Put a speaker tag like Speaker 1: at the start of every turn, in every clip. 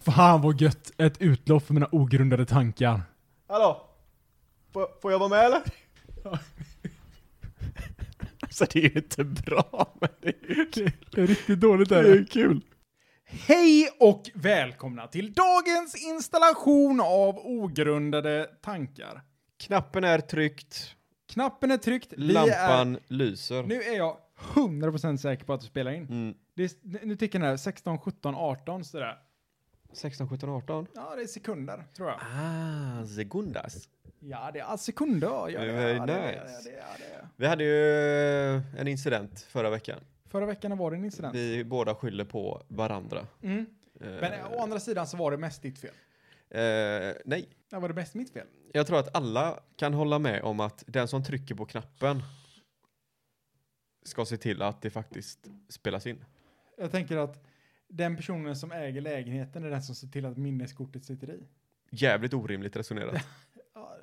Speaker 1: Fan vad gött! Ett utlopp för mina ogrundade tankar.
Speaker 2: Hallå? Får, får jag vara med eller?
Speaker 3: Alltså det är ju inte bra, men det är ju kul.
Speaker 1: Det är riktigt dåligt
Speaker 3: Det är ju kul.
Speaker 1: Hej och välkomna till dagens installation av ogrundade tankar.
Speaker 3: Knappen är tryckt,
Speaker 1: Knappen är tryckt, vi
Speaker 3: lampan
Speaker 1: Är,
Speaker 3: lyser.
Speaker 1: nu är jag 100% säker på att du spelar in.
Speaker 3: Mm.
Speaker 1: Det är, nu tycker den här 16, 17, 18 sådär.
Speaker 3: 16, 17, 18.
Speaker 1: Ja, det är sekunder tror jag.
Speaker 3: Ah, segundas.
Speaker 1: Ja, det är sekunder. Ja, det, är-
Speaker 3: Very
Speaker 1: ja, det, är-
Speaker 3: nice.
Speaker 1: ja, det, är- ja, det, är.
Speaker 3: Vi hade ju eh, en incident förra veckan.
Speaker 1: Förra veckan var det en incident.
Speaker 3: Vi båda skyller på varandra.
Speaker 1: Mm.
Speaker 3: Eh,
Speaker 1: Men eh, å andra sidan så var det mest ditt fel.
Speaker 3: eh, nej,
Speaker 1: Ja, var det mest mitt fel?
Speaker 3: jag tror att alla kan hålla med om att den som trycker på knappen ska se till att det faktiskt spelas in.
Speaker 1: Jag tänker att den personen som äger lägenheten är den som ser till att minneskortet sitter i.
Speaker 3: Jävligt orimligt resonerat.
Speaker 1: Ja,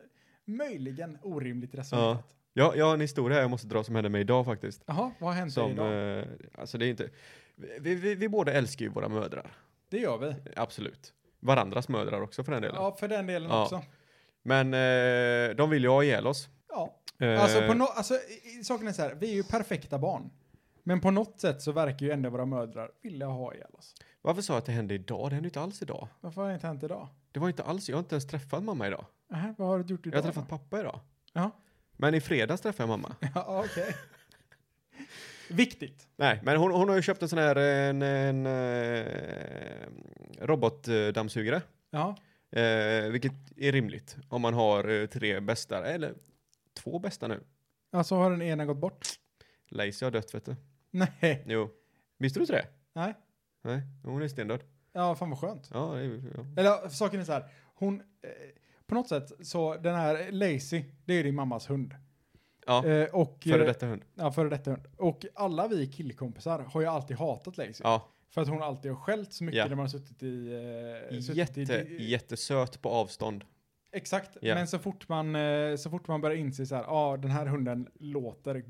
Speaker 1: möjligen orimligt resonerat.
Speaker 3: Ja, jag har en historia jag måste dra som hände mig idag faktiskt.
Speaker 1: Jaha, vad hände
Speaker 3: Som,
Speaker 1: idag?
Speaker 3: eh, alltså det är inte, vi, vi, vi båda älskar ju våra mödrar,
Speaker 1: det gör vi.
Speaker 3: absolut. Varandras mödrar också för den delen.
Speaker 1: Ja, för den delen
Speaker 3: Ja.
Speaker 1: också.
Speaker 3: Men eh, de vill ju ha ihjäl oss.
Speaker 1: Ja.
Speaker 3: Eh,
Speaker 1: Alltså, på no alltså, i- i- saken är så här, vi är ju perfekta barn. Men på något sätt så verkar ju ändå våra mödrar vilja ha ihjäl oss.
Speaker 3: Varför sa jag att det hände idag? Det hände ju inte alls idag.
Speaker 1: Varför har det inte hänt idag?
Speaker 3: Det var inte alls, jag har inte ens träffat mamma idag.
Speaker 1: Nähä, vad har du gjort idag?
Speaker 3: Jag har träffat
Speaker 1: då?
Speaker 3: pappa idag.
Speaker 1: Ja.
Speaker 3: Men i fredags träffade jag mamma.
Speaker 1: Ja, okej. Viktigt.
Speaker 3: Nej, men hon, hon har ju köpt en sån här en, en, eh, robotdammsugare.
Speaker 1: Ja.
Speaker 3: Eh, vilket är rimligt om man har eh, tre bästar, eller två bästa nu.
Speaker 1: Alltså har den ena gått bort?
Speaker 3: Lacey har dött vet du.
Speaker 1: Nej.
Speaker 3: Jo. Visste du inte det?
Speaker 1: Nej.
Speaker 3: Nej, hon är stendöd.
Speaker 1: Ja, fan vad skönt.
Speaker 3: Ja, det är, ja.
Speaker 1: Eller saken är så här, hon, eh, på något sätt så den här Lazy, det är ju din mammas hund.
Speaker 3: ja
Speaker 1: Eh, och,
Speaker 3: före
Speaker 1: eh,
Speaker 3: detta hund.
Speaker 1: Ja, före detta hund. Och alla vi killkompisar har ju alltid hatat Lazy.
Speaker 3: Ja,
Speaker 1: För att hon alltid har skällt så mycket
Speaker 3: Ja.
Speaker 1: när man har suttit i... Eh, suttit
Speaker 3: jätte,
Speaker 1: i,
Speaker 3: jättesöt på avstånd.
Speaker 1: Exakt,
Speaker 3: Ja.
Speaker 1: men så fort man, eh, så fort man börjar inse så här, ja ah, den här hunden låter,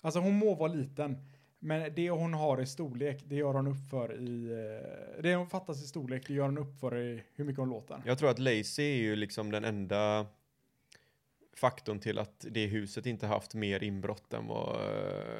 Speaker 1: alltså hon må vara liten, men det hon har i storlek, det gör hon upp för i, eh, det hon fattas i storlek, det gör hon upp för i hur mycket hon låter.
Speaker 3: Jag tror att Lacey är ju liksom den enda faktorn till att det huset inte haft mer inbrott än vad eh,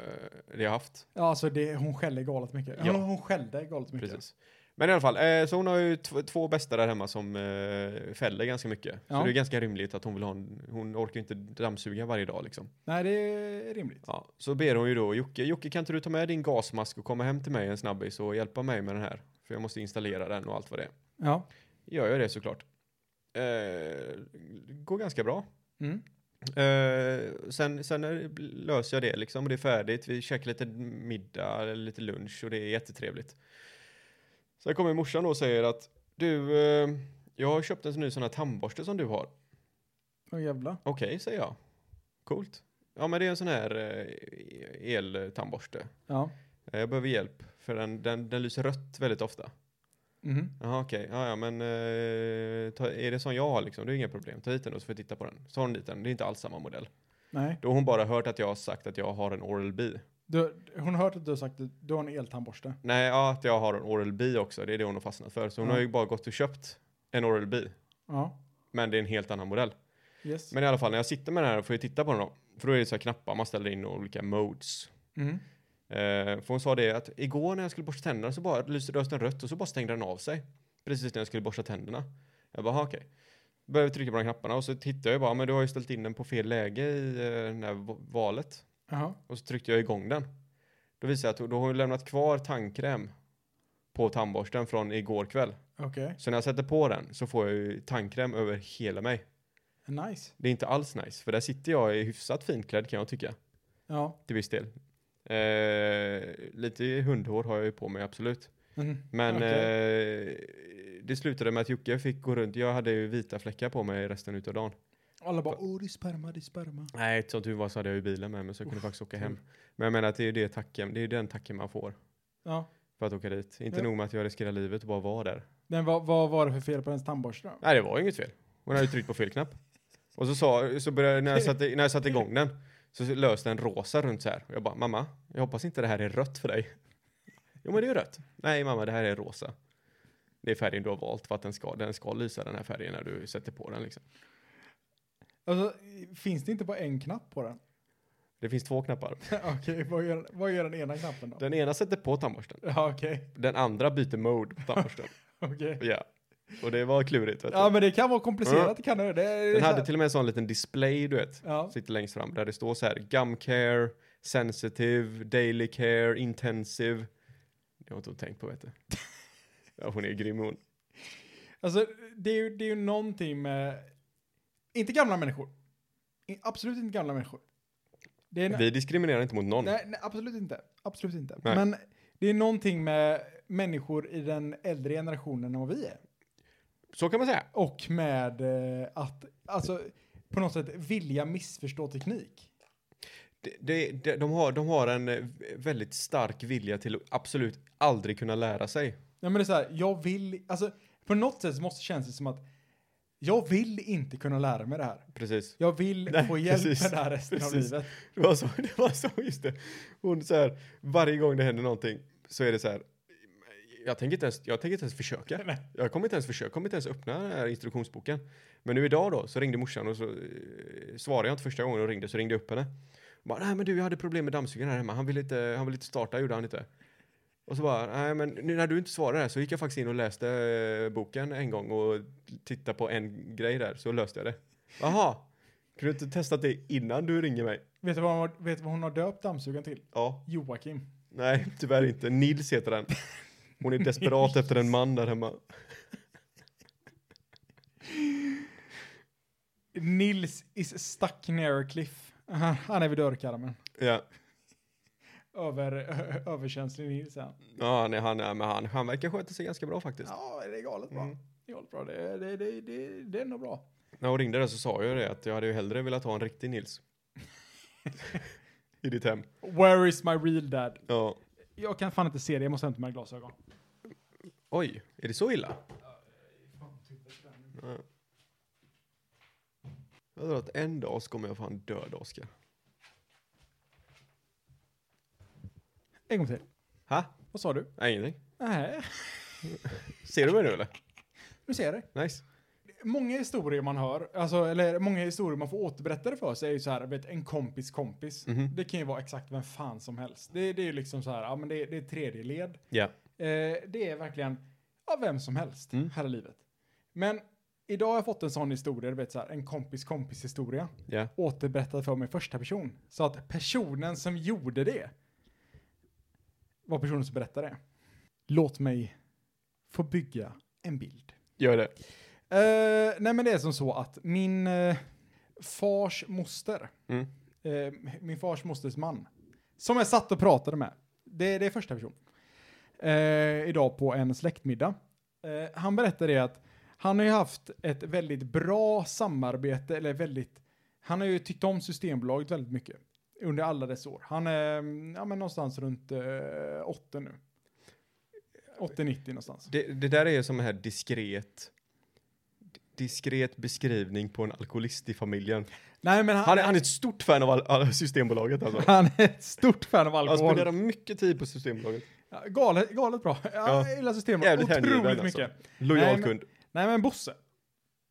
Speaker 3: det har haft.
Speaker 1: Ja, alltså det, hon skäller galet mycket.
Speaker 3: Ja.
Speaker 1: Hon, hon skällde galet mycket.
Speaker 3: Precis. Men i alla fall, eh, så hon har ju tv- två bästa där hemma som eh, fäller ganska mycket.
Speaker 1: Ja.
Speaker 3: Så det är ganska rimligt att hon vill ha en, hon orkar ju inte dammsuga varje dag liksom.
Speaker 1: Nej, det är rimligt.
Speaker 3: Ja, så ber hon ju då Jocke, Jocke kan inte du ta med din gasmask och komma hem till mig en snabbis och hjälpa mig med den här? För jag måste installera den och allt vad det är.
Speaker 1: Ja.
Speaker 3: Gör jag det såklart. Eh, går ganska bra.
Speaker 1: Mm.
Speaker 3: Eh, sen, sen är, löser jag det liksom och det är färdigt. Vi käkar lite middag eller lite lunch och det är jättetrevligt. Sen kommer morsan då och säger att du, eh, jag har köpt en ny sån här tandborste som du har.
Speaker 1: Åh jävla.
Speaker 3: Okej, säger jag. Coolt. Ja, men det är en sån här eh, eltandborste.
Speaker 1: Ja.
Speaker 3: Eh, Jag behöver hjälp, för den, den, den lyser rött väldigt ofta.
Speaker 1: Mhm.
Speaker 3: Jaha, okej. Ja, ja, men eh, ta, är det som jag har liksom, det är inga problem. Ta hit den då så får vi titta på den. Så har hon dit den, det är inte alls samma modell.
Speaker 1: Nej.
Speaker 3: Då har hon bara hört att jag har sagt att jag har en Oral-B.
Speaker 1: Du, hon har hört att du har sagt att du har en eltandborste.
Speaker 3: Nej, ja, att jag har en Oral-B också, det är det hon har fastnat för. Så hon
Speaker 1: Ja.
Speaker 3: har ju bara gått och köpt en Oral-B,
Speaker 1: Ja.
Speaker 3: men det är en helt annan modell.
Speaker 1: Yes.
Speaker 3: Men i alla fall, när jag sitter med den här får jag titta på den då. För då är det så här knappar man ställer in och olika modes.
Speaker 1: Mm.
Speaker 3: Eh, för hon sa det att igår när jag skulle borsta tänderna så bara lyste rösten rött och så bara stängde den av sig. Precis när jag skulle borsta tänderna. Jag bara, "Aha, okej. Började trycka på de knapparna och så tittade jag bara, men du har ju ställt in den på fel läge i eh, det här va- valet.
Speaker 1: Jaha.
Speaker 3: Och så tryckte jag igång den. Då visade jag att då har hon lämnat kvar tandkräm på tandborsten från igår kväll.
Speaker 1: Okej.
Speaker 3: Så när jag sätter på den så får jag ju tandkräm över hela mig.
Speaker 1: Nice.
Speaker 3: Det är inte alls nice, för där sitter jag i hyfsat finklädd kan jag tycka
Speaker 1: Ja.
Speaker 3: till viss del. Eh, lite hundhår har jag ju på mig, absolut.
Speaker 1: Mhm.
Speaker 3: Men
Speaker 1: Okej.
Speaker 3: eh, det slutade med att Jocke fick gå runt. Jag hade ju vita fläckar på mig resten utav dagen.
Speaker 1: Alla bara, "Oh." åh det är sperma, det är sperma.
Speaker 3: Nej, som tur var så hade jag ju bilen med mig så jag kunde faktiskt åka
Speaker 1: tur.
Speaker 3: hem. Men jag menar att det är ju det tacken, det är ju den tacken man får
Speaker 1: Ja.
Speaker 3: för att åka dit. Inte
Speaker 1: Ja.
Speaker 3: nog med att jag riskerar livet och bara var där.
Speaker 1: Men vad, vad var det för fel på hennes tandborste då?
Speaker 3: Nej, det var ju inget fel. Hon hade ju tryckt på fel knapp. Och så sa, så började, när, jag satte, när jag satte igång den så löste en rosa runt så här. Och jag bara, mamma, jag hoppas inte det här är rött för dig. Jo, men det är ju rött. Nej, mamma, det här är rosa. Det är färgen du har valt för att den ska, den ska lysa den här färgen när du sätter på den liksom.
Speaker 1: Alltså, finns det inte bara en knapp på den?
Speaker 3: Det finns två knappar.
Speaker 1: Okej, vad, gör, vad gör den ena knappen då?
Speaker 3: Den ena sätter på tandborsten.
Speaker 1: Ja, okej.
Speaker 3: Den andra byter mode på tandborsten.
Speaker 1: okej.
Speaker 3: Ja. Och det var klurigt vet du.
Speaker 1: Ja, men det kan vara komplicerat, det kan det. det är
Speaker 3: Den
Speaker 1: så
Speaker 3: hade
Speaker 1: här-
Speaker 3: till och med en sån liten display du vet.
Speaker 1: Ja,
Speaker 3: Sitter längst fram där det står så här gum care, sensitive, daily care, intensive. Det har jag inte tänkt på vet du. Ja, hon är grym hon.
Speaker 1: alltså det är, ju, det är ju någonting med... Inte gamla människor. I- Absolut inte gamla människor. Det är en,
Speaker 3: Vi diskriminerar inte mot någon.
Speaker 1: nej, nej, absolut inte. Absolut inte.
Speaker 3: Nej.
Speaker 1: Men det är någonting med människor i den äldre generationen än vad vi är.
Speaker 3: Så kan man säga.
Speaker 1: Och med eh, att, alltså, på något sätt vilja missförstå teknik.
Speaker 3: Det, det, det, de, har, de har en eh, väldigt stark vilja till att absolut aldrig kunna lära sig.
Speaker 1: Ja, men det är så här, jag vill, alltså på något sätt så måste det kännas som att jag vill inte kunna lära mig det här.
Speaker 3: Precis.
Speaker 1: Jag vill
Speaker 3: Nej,
Speaker 1: få hjälp
Speaker 3: precis.
Speaker 1: med det här resten av
Speaker 3: Precis.
Speaker 1: livet.
Speaker 3: Det var så, det var så just det. Hon så här, varje gång det händer någonting så är det så här. Jag tänker inte ens, jag tänker inte ens försöka.
Speaker 1: Nej.
Speaker 3: Jag kommer inte ens försöka, kommer inte ens öppna den här instruktionsboken. Men nu idag då så ringde morsan och så eh, svarade jag inte första gången och ringde så ringde jag upp henne. Och Bara, nej men du jag hade problem med dammsugaren här hemma. Han ville inte, han ville inte starta, gjorde han inte. Och så bara, nej men nu när du inte svarade här så gick jag faktiskt in och läste eh, boken en gång och tittade på en grej där så löste jag det. Jaha, kunde du inte testat det innan du ringer mig?
Speaker 1: Vet du vad hon, har- vet du vad hon har döpt dammsugaren till?
Speaker 3: Ja,
Speaker 1: Joakim.
Speaker 3: Nej, tyvärr inte. Nils heter den. Hon är desperat efter en man där hemma.
Speaker 1: Nils is stuck near a cliff. Han han är vid dörrkarmen.
Speaker 3: Ja,
Speaker 1: Över, ö- överkänslig Nils är han.
Speaker 3: ja nej, han, är- men han, han verkar sköta sig ganska bra faktiskt.
Speaker 1: Ja, det är galet bra.
Speaker 3: Mm.
Speaker 1: Det är galet bra. Det, det, det, det, det är nog bra.
Speaker 3: När hon ringde där så sa jag ju det att jag hade ju hellre velat ha en riktig Nils. I ditt hem.
Speaker 1: Where is my real dad?
Speaker 3: Ja.
Speaker 1: Jag kan fan inte se det, jag måste hämta mina glasögon.
Speaker 3: Oj, är det så illa? Ja. Jag tror att en dag så kommer jag fan döda Oskar.
Speaker 1: En gång till.
Speaker 3: Ha?
Speaker 1: Vad sa du?
Speaker 3: Nej, ingenting.
Speaker 1: Nej,
Speaker 3: Ser du mig nu eller?
Speaker 1: nu ser jag dig.
Speaker 3: Nice.
Speaker 1: Många historier man hör, alltså, eller många historier man får återberättade för sig är ju så här, vet, en kompis kompis.
Speaker 3: Mhm.
Speaker 1: Det kan ju vara exakt vem fan som helst. Det, det är ju liksom så här, ja men det, det är tredje led.
Speaker 3: Ja.
Speaker 1: Eh, det är verkligen, ja vem som helst
Speaker 3: Mm.
Speaker 1: här i livet. Men idag har jag fått en sån historia, du vet så här, en kompis kompis historia.
Speaker 3: Ja.
Speaker 1: Återberättad för mig i första person. Så att personen som gjorde det var personen som berättade det. Låt mig få bygga en bild.
Speaker 3: Gör det.
Speaker 1: Eh, nej men det är som så att min eh, fars moster,
Speaker 3: Mm.
Speaker 1: eh, min fars mosters man, som jag satt och pratade med, det, det är första person, eh, idag på en släktmiddag. Eh, han berättade det att han har ju haft ett väldigt bra samarbete, eller väldigt, han har ju tyckt om Systembolaget väldigt mycket under alla dess år. Han är mm, ja, men någonstans runt eh, 80 nu. 80-90 någonstans.
Speaker 3: Det, det där är som en här diskret diskret beskrivning på en alkoholist i familjen.
Speaker 1: Nej, men han,
Speaker 3: Han är, han är ett stort fan av al- al- Systembolaget alltså.
Speaker 1: Han är ett stort fan av
Speaker 3: Han
Speaker 1: alkohol.
Speaker 3: spenderar mycket tid på Systembolaget.
Speaker 1: Ja, Galet, galet bra. Ja,
Speaker 3: Ja.
Speaker 1: jag gillar systemet
Speaker 3: Jävligt hängiven
Speaker 1: otroligt
Speaker 3: alltså.
Speaker 1: mycket.
Speaker 3: Lojal
Speaker 1: Nej, men-
Speaker 3: kund.
Speaker 1: Nej men Bosse.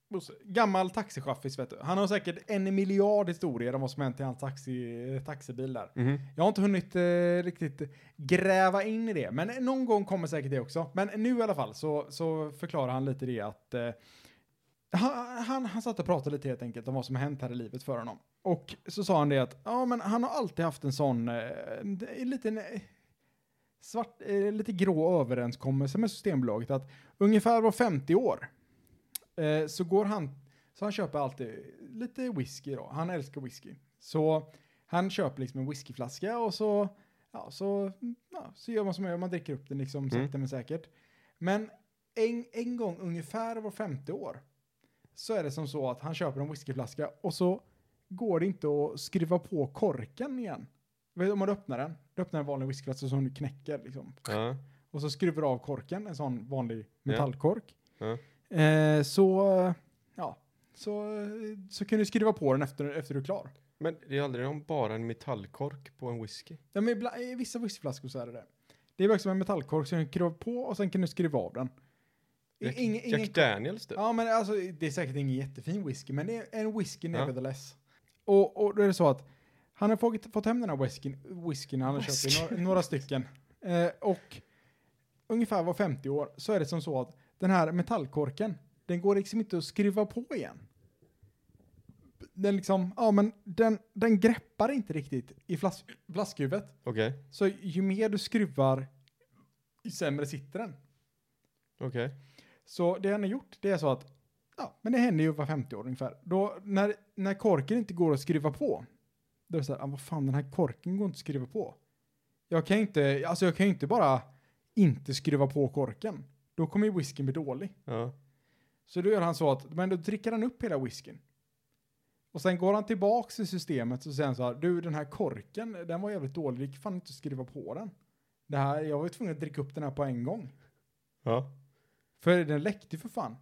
Speaker 1: Bosse. Gammal taxichaffis vet du. Han har säkert en miljard historier om vad som hänt i hans taxi, eh, taxibil där.
Speaker 3: Mhm.
Speaker 1: Jag har inte hunnit eh, riktigt gräva in i det, men någon gång kommer säkert det också. Men nu i alla fall så, så förklarar han lite det att eh, han, han, han satt och pratade lite helt enkelt om vad som har hänt här i livet för honom. Och så sa han det att ja, men han har alltid haft en sån eh, en liten eh, svart, eh, lite grå överenskommelse med Systembolaget att ungefär var 50 år eh, så går han, så han köper alltid lite whisky då. Han älskar whisky. Så han köper liksom en whiskyflaska och så, ja, så, ja, så gör man som man gör, man dricker upp den liksom
Speaker 3: Mm.
Speaker 1: sakta men säkert. Men en, en gång ungefär var femte år så är det som så att han köper en whiskyflaska och så går det inte att skruva på korken igen. Vet du, Om man öppnar den, du öppnar en vanlig whiskyflaska som du knäcker liksom.
Speaker 3: Ja.
Speaker 1: Och så skruvar du av korken, en sån vanlig metallkork.
Speaker 3: Ja.
Speaker 1: Eh, så, ja, så, eh, så kan du skruva på den efter, efter du är klar.
Speaker 3: Men det är aldrig någon bara en metallkork på en whisky.
Speaker 1: Ja, men ibland, I vissa whiskyflaskor så är det det. Det är bara som en metallkork som du skruvar på och sen kan du skruva av den.
Speaker 3: Jack,
Speaker 1: Ingen- ingen-
Speaker 3: Jack Daniels typ.
Speaker 1: Ja, men alltså det är säkert ingen jättefin whisky, men det är en whisky
Speaker 3: Ja.
Speaker 1: nevertheless. Och, och då är det så att han har fått, fått hem den här whiskyn, whiskyn han har köpt, i
Speaker 3: Whisky.
Speaker 1: några, några stycken. Eh, och ungefär var 50 år så är det som så att den här metallkorken, den går liksom inte att skruva på igen. Den liksom, ja men den, den greppar inte riktigt i flas, flaskhuvudet.
Speaker 3: Okej,
Speaker 1: Så ju mer du skruvar, ju sämre sitter den.
Speaker 3: okej.
Speaker 1: Så det han har gjort, det är så att, ja, men det händer ju var 50 år ungefär. Då, när, när korken inte går att skruva på, då är det så här, ah, vad fan, den här korken går inte att skruva på. Jag kan ju inte, alltså jag kan ju inte bara inte skruva på korken. Då kommer ju whiskyn bli dålig.
Speaker 3: Ja.
Speaker 1: Så då gör han så att, men då dricker han upp hela whiskyn. Och sen går han tillbaks till systemet och säger han så här, du den här korken, den var jävligt dålig, det gick fan inte att skruva på den. Det här, jag var ju tvungen att dricka upp den här på en gång.
Speaker 3: Ja.
Speaker 1: För den läckte ju för fan.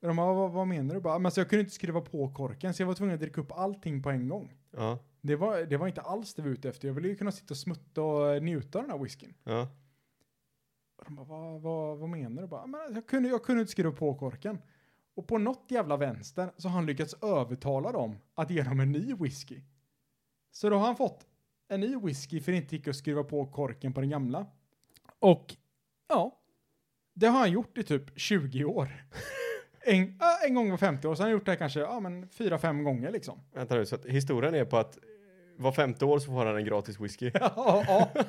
Speaker 1: Och De bara, vad, vad menar du? Bara, men alltså, jag kunde inte skruva på korken så jag var tvungen att dricka upp allting på en gång.
Speaker 3: Ja.
Speaker 1: Det var, det var inte alls det vi var ute efter. Jag ville ju kunna sitta och smutta och eh, njuta av den här whiskyn.
Speaker 3: Ja.
Speaker 1: Och de bara, vad, vad, vad menar du? Bara, men alltså, jag, kunde, jag kunde inte skruva på korken. Och på något jävla vänster så har han lyckats övertala dem att ge dem en ny whisky. Så då har han fått en ny whisky för det inte gick att skruva på korken på den gamla. Och ja, det har han gjort i typ 20 år. En, ja, en gång var 50 år, så har han gjort det här kanske ja, men 4-5 gånger liksom.
Speaker 3: Vänta nu, så att historien är på att eh, var femte år så får han en gratis whisky.
Speaker 1: Ja, ja.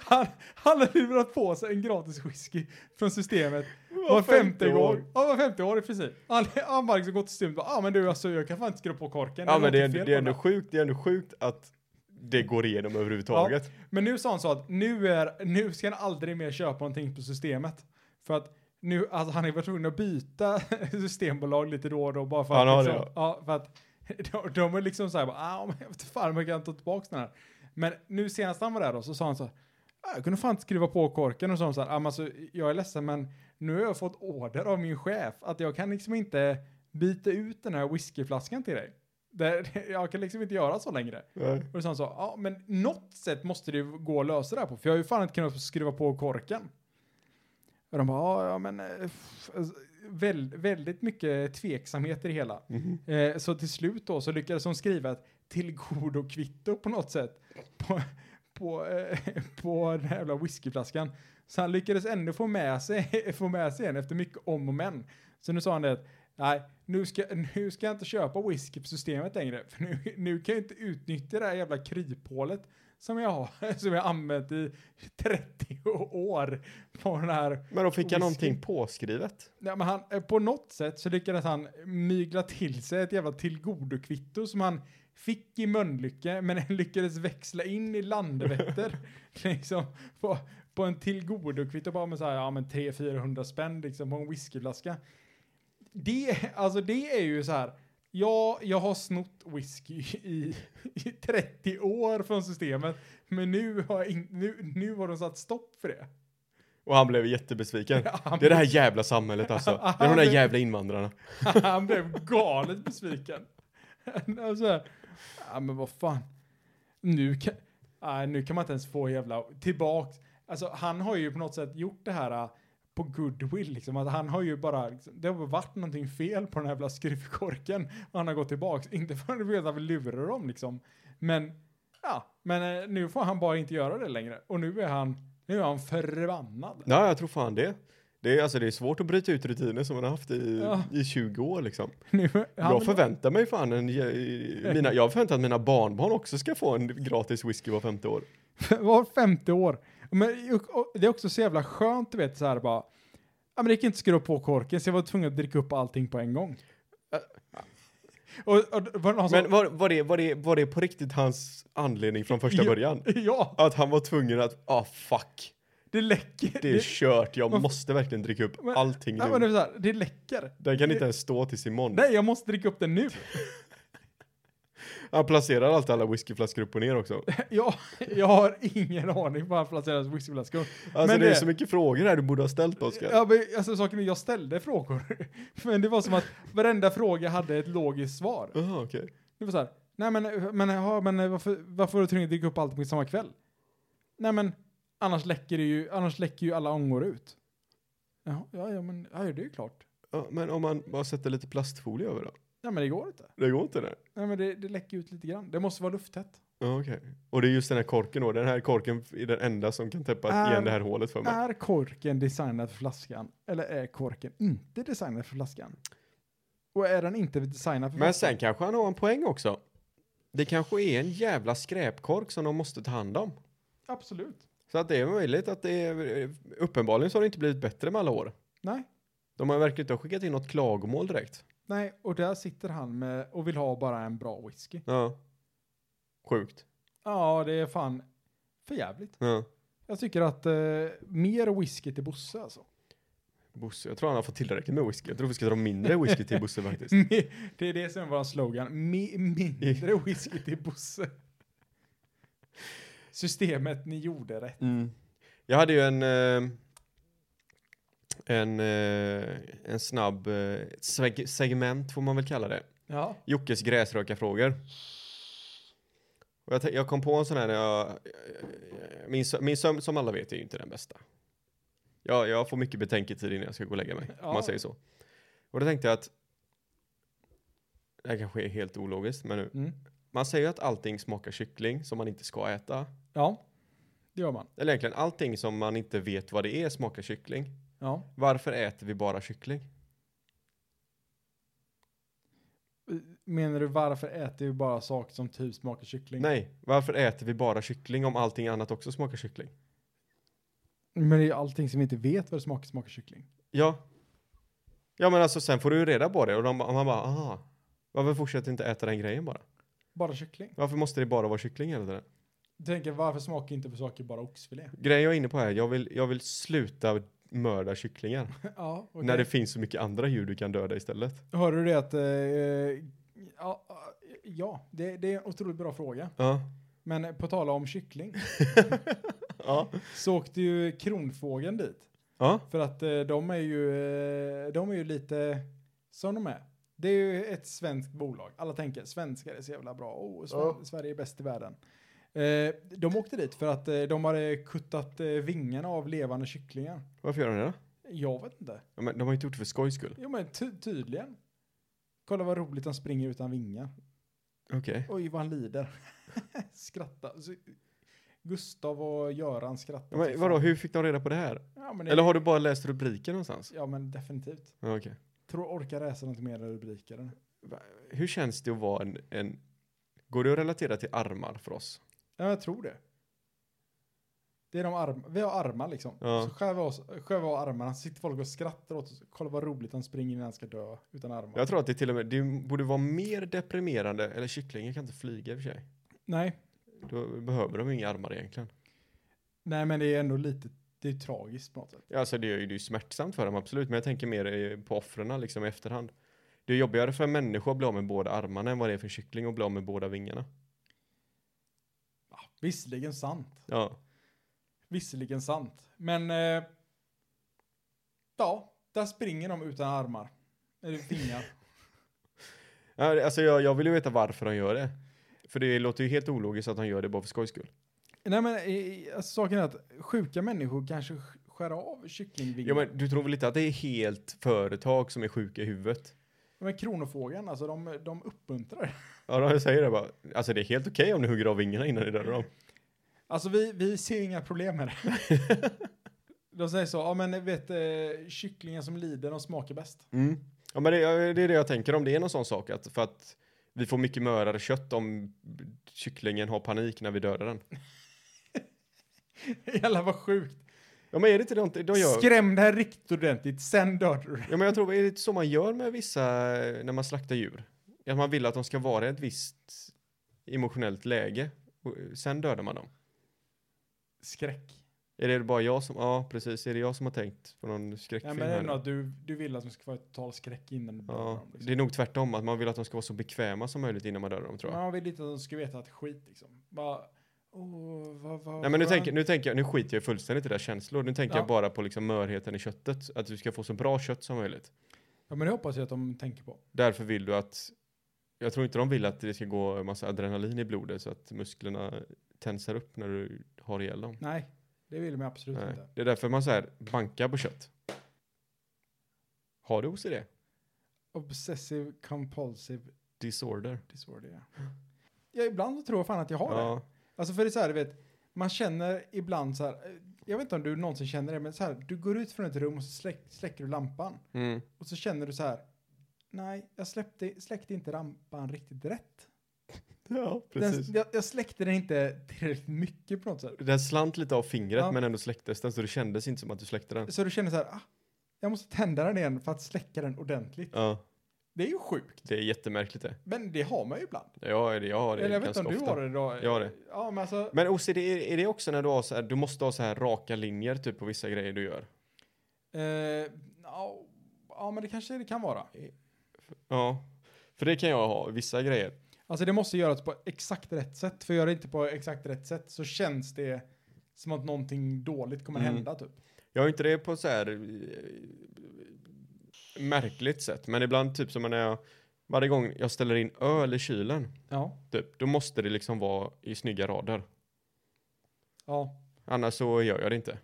Speaker 1: Han, han har lurat på sig en gratis whisky från systemet var femte år. Ja, var femte år i princip. Han, han bara liksom gått till systemet och bara, ah, men du alltså jag kan fan inte skruva på korken.
Speaker 3: Ja men det är,
Speaker 1: något fel
Speaker 3: det, är
Speaker 1: på den
Speaker 3: ändå
Speaker 1: här."
Speaker 3: sjukt, det är ändå sjukt att det går igenom överhuvudtaget.
Speaker 1: Men nu sa han så att nu är, nu ska han aldrig mer köpa någonting på systemet. För att nu, alltså han är väl tvungen att byta systembolag lite då och då bara för
Speaker 3: Han har
Speaker 1: att, liksom,
Speaker 3: det,
Speaker 1: ja, för att de, de är liksom såhär, ah, men jag vet fan om jag kan ta tillbaka den här. Men nu senast han var där då så sa han så här, "Ah, jag kunde fan inte skruva på korken och så sa han så här, "Ah, men alltså, jag är ledsen men nu har jag fått order av min chef att jag kan liksom inte byta ut den här whiskyflaskan till dig. Det, jag kan liksom inte göra så längre.
Speaker 3: Nej.
Speaker 1: Och sen sa han, ja men något sätt måste det ju gå att lösa det här på, för jag har ju fan inte kunnat skruva på korken. Och de bara, "Ja, ja men, eh, f- alltså, väl, väldigt mycket tveksamheter i hela.
Speaker 3: Mm-hmm.
Speaker 1: Eh, så till slut då så lyckades de skriva ett tillgodokvitto på något sätt på, på, eh, på den här jävla whiskyflaskan. Så han lyckades ändå få med sig, få med sig en efter mycket om och men. Så nu sa han det att nej, nu ska, nu ska jag inte köpa whisky på systemet längre. För nu, nu kan jag inte utnyttja det här jävla kryphålet som jag har, som jag har använt i 30 år på den här
Speaker 3: Men då fick
Speaker 1: Whisky.
Speaker 3: jag någonting påskrivet.
Speaker 1: Ja, men han, eh, på något sätt så lyckades han mygla till sig ett jävla tillgodokvitto som han fick i Mölnlycke men lyckades växla in i Landvetter. liksom, på, på en tillgodokvitto bara med så här, ja men 300-400 spänn liksom på en whiskyflaska. Det, alltså det är ju så här, ja, jag har snott whisky i, i 30 år från systemet men nu har, jag in, nu, nu har de satt stopp för det.
Speaker 3: Och han blev jättebesviken.
Speaker 1: Han
Speaker 3: Det är det här jävla samhället alltså. Det är de där jävla invandrarna.
Speaker 1: Han blev galet besviken. alltså, ja men vad fan. Nu kan, nej, nu kan man inte ens få jävla tillbaks. Alltså han har ju på något sätt gjort det här äh, på goodwill liksom. Att han har ju bara, liksom, det har varit någonting fel på den här jävla skruvkorken. Och han har gått tillbaks. Inte för att han vet att vi lurar dem liksom. Men, ja, men eh, nu får han bara inte göra det längre. Och nu är han, nu är han förbannad.
Speaker 3: Ja, jag tror fan det. Det är, alltså, det är svårt att bryta ut rutiner som man har haft i,
Speaker 1: Ja.
Speaker 3: i 20 år liksom.
Speaker 1: Nu, han
Speaker 3: Jag
Speaker 1: vill-
Speaker 3: förväntar mig fan en, mina, jag förväntar att mina barnbarn också ska få en gratis whisky var femte år.
Speaker 1: Var femte år. Men och- och det är också så jävla skönt, du vet, så här bara. Ja, men det gick inte att skruva på korken, så jag var tvungen att dricka upp allting på en gång. Och, och det var någon som...
Speaker 3: Äh. Men var, var, det, var, det, var det på riktigt hans anledning från första
Speaker 1: Ja.
Speaker 3: början?
Speaker 1: Ja,
Speaker 3: Att han var tvungen att, ah fuck,
Speaker 1: det läcker.
Speaker 3: det är kört, jag måste verkligen dricka upp
Speaker 1: Men-
Speaker 3: allting
Speaker 1: ja, men det,
Speaker 3: nu.
Speaker 1: är så här, det läcker.
Speaker 3: Den kan
Speaker 1: det-
Speaker 3: inte ens stå tills imorgon.
Speaker 1: Nej, jag måste dricka upp den nu.
Speaker 3: Han placerar alltid alla whiskyflaskor upp och ner också.
Speaker 1: Jag, jag har ingen aning på varför placeras whiskyflaskor.
Speaker 3: Alltså
Speaker 1: Men
Speaker 3: det, är
Speaker 1: det-
Speaker 3: så mycket frågor här du borde ha ställt Oskar.
Speaker 1: Ja, men, alltså saken är, jag ställde frågor. Men det var som att varenda fråga hade ett logiskt svar.
Speaker 3: Jaha, okej.
Speaker 1: Det var så här, nej men, men, ja, men varför, varför var du tvungen att dricka upp allt på samma kväll? Nej men, annars läcker, det ju, annars läcker ju alla ångor ut. Jaha, ja, ja, men ja, det är ju klart.
Speaker 3: Ja, men om man bara sätter lite plastfolie över då?
Speaker 1: Ja, men det går inte.
Speaker 3: Det går inte det?
Speaker 1: Nej, men det, det läcker ut lite grann. Det måste vara lufttätt.
Speaker 3: Ja, okej. Och det är just den här korken då. Den här korken är den enda som kan täppa
Speaker 1: Är-
Speaker 3: igen det här hålet för mig.
Speaker 1: Är korken designad för flaskan? Eller är korken inte designad för flaskan? Och är den inte designad för
Speaker 3: Men
Speaker 1: flaskan?
Speaker 3: sen kanske han har en poäng också. Det kanske är en jävla skräpkork som de måste ta hand om.
Speaker 1: Absolut.
Speaker 3: Så att det är möjligt att det är, eh, uppenbarligen så har det inte blivit bättre med alla år.
Speaker 1: Nej.
Speaker 3: De har verkligen inte skickat in något klagomål direkt.
Speaker 1: Nej, och där sitter han med och vill ha bara en bra whisky.
Speaker 3: Ja. Sjukt.
Speaker 1: Ja, det är fan för jävligt.
Speaker 3: Ja.
Speaker 1: Jag tycker att eh, mer whisky till Bosse alltså.
Speaker 3: Bosse, jag tror han har fått tillräckligt med whisky. Jag tror vi ska dra mindre whisky till Bosse faktiskt.
Speaker 1: det är det som är vår slogan. Mi- mindre whisky till Bosse. Systemet, ni gjorde rätt.
Speaker 3: Jag hade ju en eh, en, eh, en snabb eh, seg- segment får man väl kalla det.
Speaker 1: Ja.
Speaker 3: Jockes gräsrökarfrågor. Och jag, tän- jag kom på en sån här när jag... eh, Min, sö- min sömn som alla vet är ju inte den bästa. Jag, jag får mycket betänketid innan jag ska gå och lägga mig, om
Speaker 1: Ja.
Speaker 3: man säger så. Och då tänkte jag att... Det här kanske är helt ologiskt, men nu.
Speaker 1: Mm.
Speaker 3: Man säger ju att allting smakar kyckling som man inte ska äta.
Speaker 1: Ja, det gör man.
Speaker 3: Eller egentligen allting som man inte vet vad det är smakar kyckling.
Speaker 1: Ja.
Speaker 3: Varför äter vi bara kyckling?
Speaker 1: Menar du varför äter vi bara saker som typ smakar kyckling?
Speaker 3: Nej, varför äter vi bara kyckling om allting annat också smakar kyckling?
Speaker 1: Men det är ju allting som vi inte vet vad det smakar smakar kyckling.
Speaker 3: Ja. Ja men alltså sen får du ju reda på det och de, ba- man bara aha. Varför fortsätter inte äta den grejen bara?
Speaker 1: Bara kyckling.
Speaker 3: Varför måste det bara vara kyckling hela tiden?
Speaker 1: Du tänker varför smakar inte saker bara oxfilé?
Speaker 3: Grejen jag är inne på är, jag vill, jag vill sluta mörda kycklingar.
Speaker 1: ja, okej.
Speaker 3: När det finns så mycket andra djur du kan döda istället.
Speaker 1: Hörde du det att... Eh, ja, ja det, det är en otroligt bra fråga.
Speaker 3: Ja.
Speaker 1: Men på tala om kyckling
Speaker 3: Ja.
Speaker 1: så åkte ju kronfågeln dit.
Speaker 3: Ja.
Speaker 1: För att eh, de är ju, eh, de är ju lite som de är. Det är ju ett svenskt bolag. Alla tänker svenskar är så jävla bra. Oh, Sven-
Speaker 2: Ja.
Speaker 1: Sverige är bäst i världen. Eh, de åkte dit för att eh, de hade kuttat eh, vingarna av levande kycklingar.
Speaker 3: Varför gör de det då?
Speaker 1: Jag vet inte.
Speaker 3: Ja, men de har ju inte gjort det för skojs skull.
Speaker 1: Jo men ty- tydligen. Kolla vad roligt han springer utan vingar.
Speaker 3: Okej.
Speaker 1: Oj vad han lider. Skratta. Så, Gustav och Göran skrattar.
Speaker 3: Ja, men vadå, hur fick de reda på det här?
Speaker 1: Ja, men det,
Speaker 3: Eller har du bara läst rubriken någonstans?
Speaker 1: ja men definitivt.
Speaker 3: Ja, Okej.
Speaker 1: Tror orkar läsa något mer rubriker. eller?
Speaker 3: Va- Hur känns det att vara en, en... Går det att relatera till armar för oss?
Speaker 1: Ja, jag tror det. Det är de arm vi har armar liksom.
Speaker 3: Ja.
Speaker 1: Så skär vi, oss, skär vi av armarna, så sitter folk och skrattar åt oss. Kolla vad roligt han springer innan han ska dö utan armar.
Speaker 3: Jag tror att det till och med, det borde vara mer deprimerande, eller kycklingen kan inte flyga i och för sig.
Speaker 1: Nej,
Speaker 3: Då behöver de ju inga armar egentligen.
Speaker 1: nej men det är ändå lite, det är tragiskt på något sätt.
Speaker 3: Ja, Alltså det är ju det är ju smärtsamt för dem absolut, men jag tänker mer eh, på offren liksom i efterhand. Det är jobbigare för en människa att bli av med båda armarna än vad det är för en kyckling att bli av med båda vingarna.
Speaker 1: Ja, visserligen sant.
Speaker 3: Ja,
Speaker 1: Visserligen sant. Men eh, ja, där springer de utan armar. Eller vingar.
Speaker 3: Ja, det- alltså jag, jag vill ju veta varför de gör det. För det låter ju helt ologiskt att de gör det bara för skojs skull.
Speaker 1: nej men eh, alltså, saken är att sjuka människor kanske sk- skär av kycklingvingar.
Speaker 3: Ja, men du tror väl inte att det är helt företag som är sjuka i huvudet?
Speaker 1: men kronofågeln, alltså de, de uppmuntrar
Speaker 3: Ja, de säger det bara. Alltså det är helt okej om du hugger av vingarna innan du dödar dem.
Speaker 1: Alltså vi, vi ser ju inga problem med det. De säger så, ja men vet eh, kycklingar som lider, de smakar bäst.
Speaker 3: Mm. Ja, men det, det är det jag tänker om det är någon sån sak. Att, för att vi får mycket mörare kött om kycklingen har panik när vi dödar den.
Speaker 1: Jävlar vad sjukt.
Speaker 3: Ja, men är det inte det inte- de gör?
Speaker 1: Skräm det här riktigt ordentligt, sen dör du.
Speaker 3: Ja, men jag tror, är det inte så man gör med vissa eh, när man slaktar djur? Att man vill att de ska vara i ett visst emotionellt läge. Och eh, sen dödar man dem.
Speaker 1: Skräck.
Speaker 3: Är det bara jag som, ja precis, är det jag som har tänkt på någon
Speaker 1: Ja,
Speaker 3: skräckfilm?
Speaker 1: men det är nog
Speaker 3: här nu?
Speaker 1: att du, du vill att de ska få total skräck innan du dödar
Speaker 3: ja,
Speaker 1: dem. Liksom.
Speaker 3: det är nog tvärtom, att man vill att de ska vara så bekväma som möjligt innan man dödar dem tror jag.
Speaker 1: Man vill inte att de ska veta att skit liksom. Bara, åh, vad, vad
Speaker 3: Nej men nu
Speaker 1: skönt."
Speaker 3: tänker, nu tänker jag, nu skiter jag fullständigt i deras känslor. Nu tänker
Speaker 1: Ja.
Speaker 3: jag bara på liksom mörheten i köttet. Att du ska få så bra kött som möjligt.
Speaker 1: Ja men det hoppas jag att de tänker på.
Speaker 3: Därför vill du att, jag tror inte de vill att det ska gå en massa adrenalin i blodet så att musklerna tensar upp när du har ihjäl dem.
Speaker 1: Nej, det vill de absolut
Speaker 3: Nej.
Speaker 1: inte.
Speaker 3: Det är därför man så här bankar på kött. Har du OCD?
Speaker 1: Obsessive compulsive
Speaker 3: Disorder.
Speaker 1: disorder. Ja. Ja, ibland så tror jag fan att jag har det.
Speaker 3: Ja.
Speaker 1: Alltså för det är så här, du vet, man känner ibland så här, eh, jag vet inte om du någonsin känner det, men så här, du går ut från ett rum och så släck, släcker du lampan.
Speaker 3: Mm.
Speaker 1: Och så känner du så här, nej, jag släppte, släckte inte lampan riktigt rätt.
Speaker 3: ja,
Speaker 1: Den,
Speaker 3: precis.
Speaker 1: jag, jag släckte den inte tillräckligt mycket på något sätt.
Speaker 3: Den slant lite av fingret
Speaker 1: Ja.
Speaker 3: men ändå släcktes den så det kändes inte som att du släckte den.
Speaker 1: Så du känner så här, ah, jag måste tända den igen för att släcka den ordentligt.
Speaker 3: Ja,
Speaker 1: Det är ju sjukt,
Speaker 3: det är jättemärkligt det.
Speaker 1: men det har man ju ibland.
Speaker 3: Jag har det, jag har det
Speaker 1: Eller jag vet inte
Speaker 3: ganska
Speaker 1: om du
Speaker 3: ofta.
Speaker 1: har det då.
Speaker 3: Jag har det.
Speaker 1: Ja, men alltså,
Speaker 3: Men OCD, är, är det också när du har så här, du måste ha så här raka linjer typ på vissa grejer du gör?
Speaker 1: eh, ja, ja, men det kanske det kan vara.
Speaker 3: Ja. För det kan jag ha, vissa grejer.
Speaker 1: Alltså det måste göras på exakt rätt sätt. För gör det inte på exakt rätt sätt så känns det som att någonting dåligt kommer
Speaker 3: Mm.
Speaker 1: hända typ.
Speaker 3: Jag har inte det på så här eh, märkligt sätt, men ibland typ som när jag, varje gång jag ställer in öl i kylen,
Speaker 1: Ja.
Speaker 3: typ, då måste det liksom vara i snygga rader.
Speaker 1: Ja.
Speaker 3: Annars så gör jag det inte.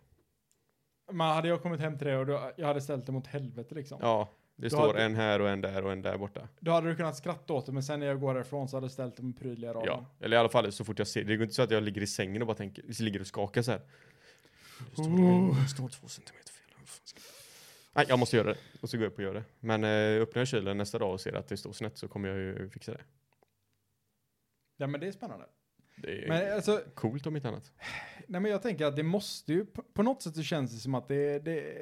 Speaker 1: Men hade jag kommit hem till dig och du, jag hade ställt det mot helvete liksom.
Speaker 3: Ja, det
Speaker 1: Du
Speaker 3: står
Speaker 1: hade-
Speaker 3: en här och en där och en där borta.
Speaker 1: Då hade du kunnat skratta åt det men sen när jag går därifrån så hade du ställt det med prydliga rader.
Speaker 3: Ja, eller i alla fall så fort jag ser, det går inte så att jag ligger i sängen och bara tänker, ligger och skakar så här. Det står,
Speaker 1: Oh.
Speaker 3: det står två centimeter fel. Vad fan ska jag- Nej, jag måste göra det. Och så går jag upp och gör det. Men eh, öppnar jag kylen nästa dag och ser att det står snett så kommer jag ju fixa det.
Speaker 1: Ja men det är spännande.
Speaker 3: Det är
Speaker 1: Men alltså,
Speaker 3: coolt om inte annat.
Speaker 1: nej men jag tänker att det måste ju, på, på något sätt så känns det som att det, det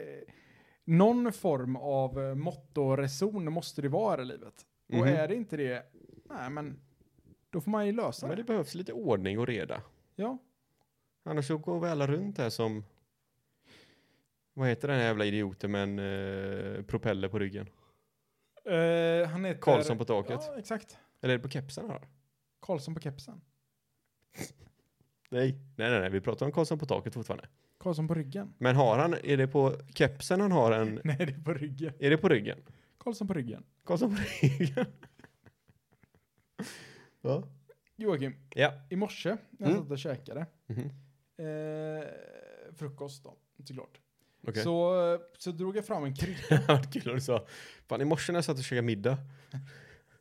Speaker 1: någon form av eh, mått och reson måste det vara i livet. Och
Speaker 3: Mhm.
Speaker 1: är det inte det, nej men då får man ju lösa
Speaker 3: Men
Speaker 1: det.
Speaker 3: det behövs lite ordning och reda.
Speaker 1: Ja.
Speaker 3: Annars så går vi alla runt här som... Vad heter den här jävla idioten med en eh, propeller på ryggen?
Speaker 1: Eh, han heter...
Speaker 3: Karlsson på taket.
Speaker 1: Ja, exakt.
Speaker 3: Eller är det på kepsen här?
Speaker 1: Karlsson på kepsen.
Speaker 3: Nej. Nej, nej, nej. Vi pratar om Karlsson på taket fortfarande.
Speaker 1: Karlsson på ryggen.
Speaker 3: Men har han, är det på kepsen han har en...
Speaker 1: Nej, det är på ryggen.
Speaker 3: Är det på ryggen?
Speaker 1: Karlsson på ryggen.
Speaker 3: Karlsson på ryggen? Va?
Speaker 1: Joakim,
Speaker 3: Ja.
Speaker 1: i morse när jag
Speaker 3: Mm.
Speaker 1: satt och käkade,
Speaker 3: Mhm.
Speaker 1: eh, frukost då, såklart.
Speaker 3: Okej.
Speaker 1: Så, så drog jag fram en krydda.
Speaker 3: Det hade varit kul om du sa, fan i morse när jag satt och käkade middag.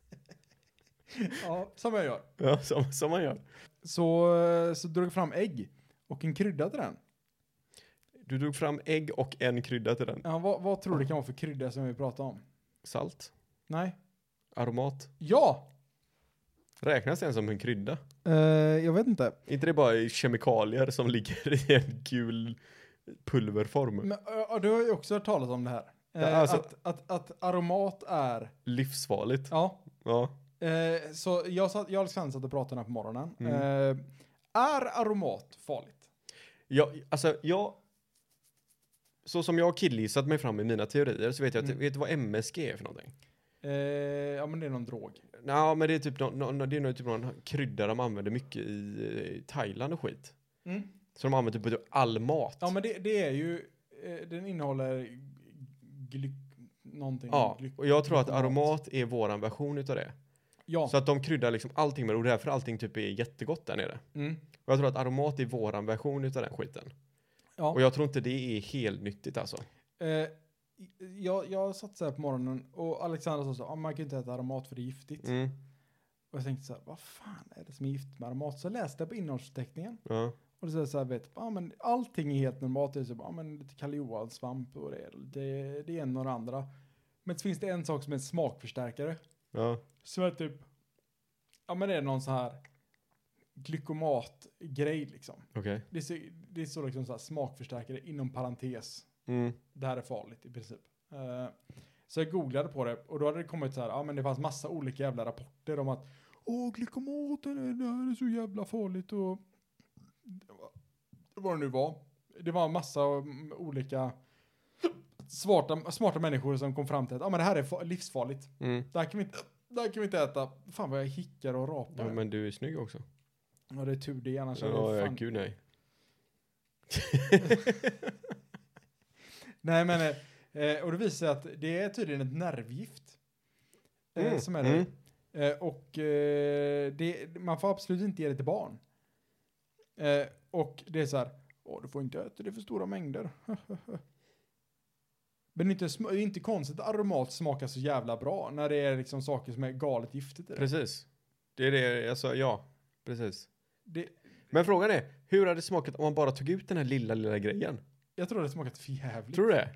Speaker 1: ja, som jag gör.
Speaker 3: Ja, som, som man gör.
Speaker 1: Så, eh, så drog jag fram ägg och en krydda till den.
Speaker 3: Du drog fram ägg och en krydda till den.
Speaker 1: Ja, vad, vad tror du det kan vara för krydda som vi pratar om?
Speaker 3: Salt,
Speaker 1: Nej.
Speaker 3: aromat.
Speaker 1: Ja!
Speaker 3: Räknas den som en krydda?
Speaker 1: Eh, jag vet inte.
Speaker 3: inte det bara kemikalier som ligger i en gul pulverform?
Speaker 1: Men, eh, du har ju också hört talas om det här. Eh,
Speaker 3: Ja, alltså-
Speaker 1: att, att, att aromat är...
Speaker 3: Livsfarligt.
Speaker 1: Ja.
Speaker 3: Ja.
Speaker 1: Eh, så jag, satt, jag och Alexander satt och pratade den här på morgonen.
Speaker 3: Mm.
Speaker 1: Eh, är aromat farligt?
Speaker 3: Jag, alltså, jag... Så som jag har killgissat mig fram i mina teorier så vet jag att,
Speaker 1: Mm.
Speaker 3: vet du vad MSG är för någonting?
Speaker 1: Eh, ja, men det är någon drog.
Speaker 3: Nja, men det är typ någon, någon, det är nog typ någon krydda de använder mycket i eh, Thailand och skit. Så de använder typ på typ all mat.
Speaker 1: Ja, men det, det är ju... Eh, den innehåller glyk... Någonting.
Speaker 3: Ja,
Speaker 1: Glyk,
Speaker 3: och jag tror att
Speaker 1: glykomat.
Speaker 3: aromat är våran version utav det.
Speaker 1: Ja.
Speaker 3: Så att de kryddar liksom allting med det och därför allting typ är jättegott där nere.
Speaker 1: Mm.
Speaker 3: Och jag tror att aromat är våran version utav den skiten.
Speaker 1: Ja.
Speaker 3: Och jag tror inte det är helt nyttigt alltså.
Speaker 1: Eh, jag, jag satt så här på morgonen och Alexander sa så här, ah, man kan ju inte äta aromat för det är giftigt.
Speaker 3: Mm.
Speaker 1: Och jag tänkte så här, vad fan är det som är gift med aromat? Så läste jag på innehållsförteckningen
Speaker 3: Ja.
Speaker 1: och så, så här, vet, ah, men allting är helt normalt. Det är så, bara, ah, men lite Kalle Johan-svamp och det, det, det är en och det andra. Men så finns det en sak som är en smakförstärkare.
Speaker 3: Ja.
Speaker 1: Som är typ, ja men det är någon så här glykomat-grej liksom.
Speaker 3: Okej.
Speaker 1: Det, är, det är så liksom så här smakförstärkare inom parentes
Speaker 3: Mm.
Speaker 1: det här är farligt i princip. Eh, så jag googlade på det och då hade det kommit så här, ja men det fanns massa olika jävla rapporter om att åh glykomaten, är- det här är så jävla farligt och det var- vad det nu var. Det var massa mm, olika smarta, smarta människor som kom fram till att ja men det här är fa- livsfarligt.
Speaker 3: Mm.
Speaker 1: Det här kan vi inte, det här kan vi inte äta. Fan vad jag hickar och rapar.
Speaker 3: Ja,
Speaker 1: Ja,
Speaker 3: men du är snygg också.
Speaker 1: det är tur det annars hade
Speaker 3: Ja,
Speaker 1: jag
Speaker 3: ja,
Speaker 1: Alltså, fan
Speaker 3: gud nej.
Speaker 1: Nej men, eh, eh, och det visar att det är tydligen ett nervgift. Eh,
Speaker 3: Mm,
Speaker 1: Som är det.
Speaker 3: mm.
Speaker 1: Eh, och eh, det, man får absolut inte ge det till barn. Eh, och det är så här, Åh, du får inte äta det för stora mängder. Men det är inte, sm- det är inte konstigt att aromat smakar så jävla bra när det är liksom saker som är galet giftigt i det.
Speaker 3: Precis. Det är det, alltså ja, precis.
Speaker 1: det
Speaker 3: Men frågan är, hur hade det smakat om man bara tog ut den här lilla, lilla grejen?
Speaker 1: jag tror det smakat för jävligt.
Speaker 3: Tror du det?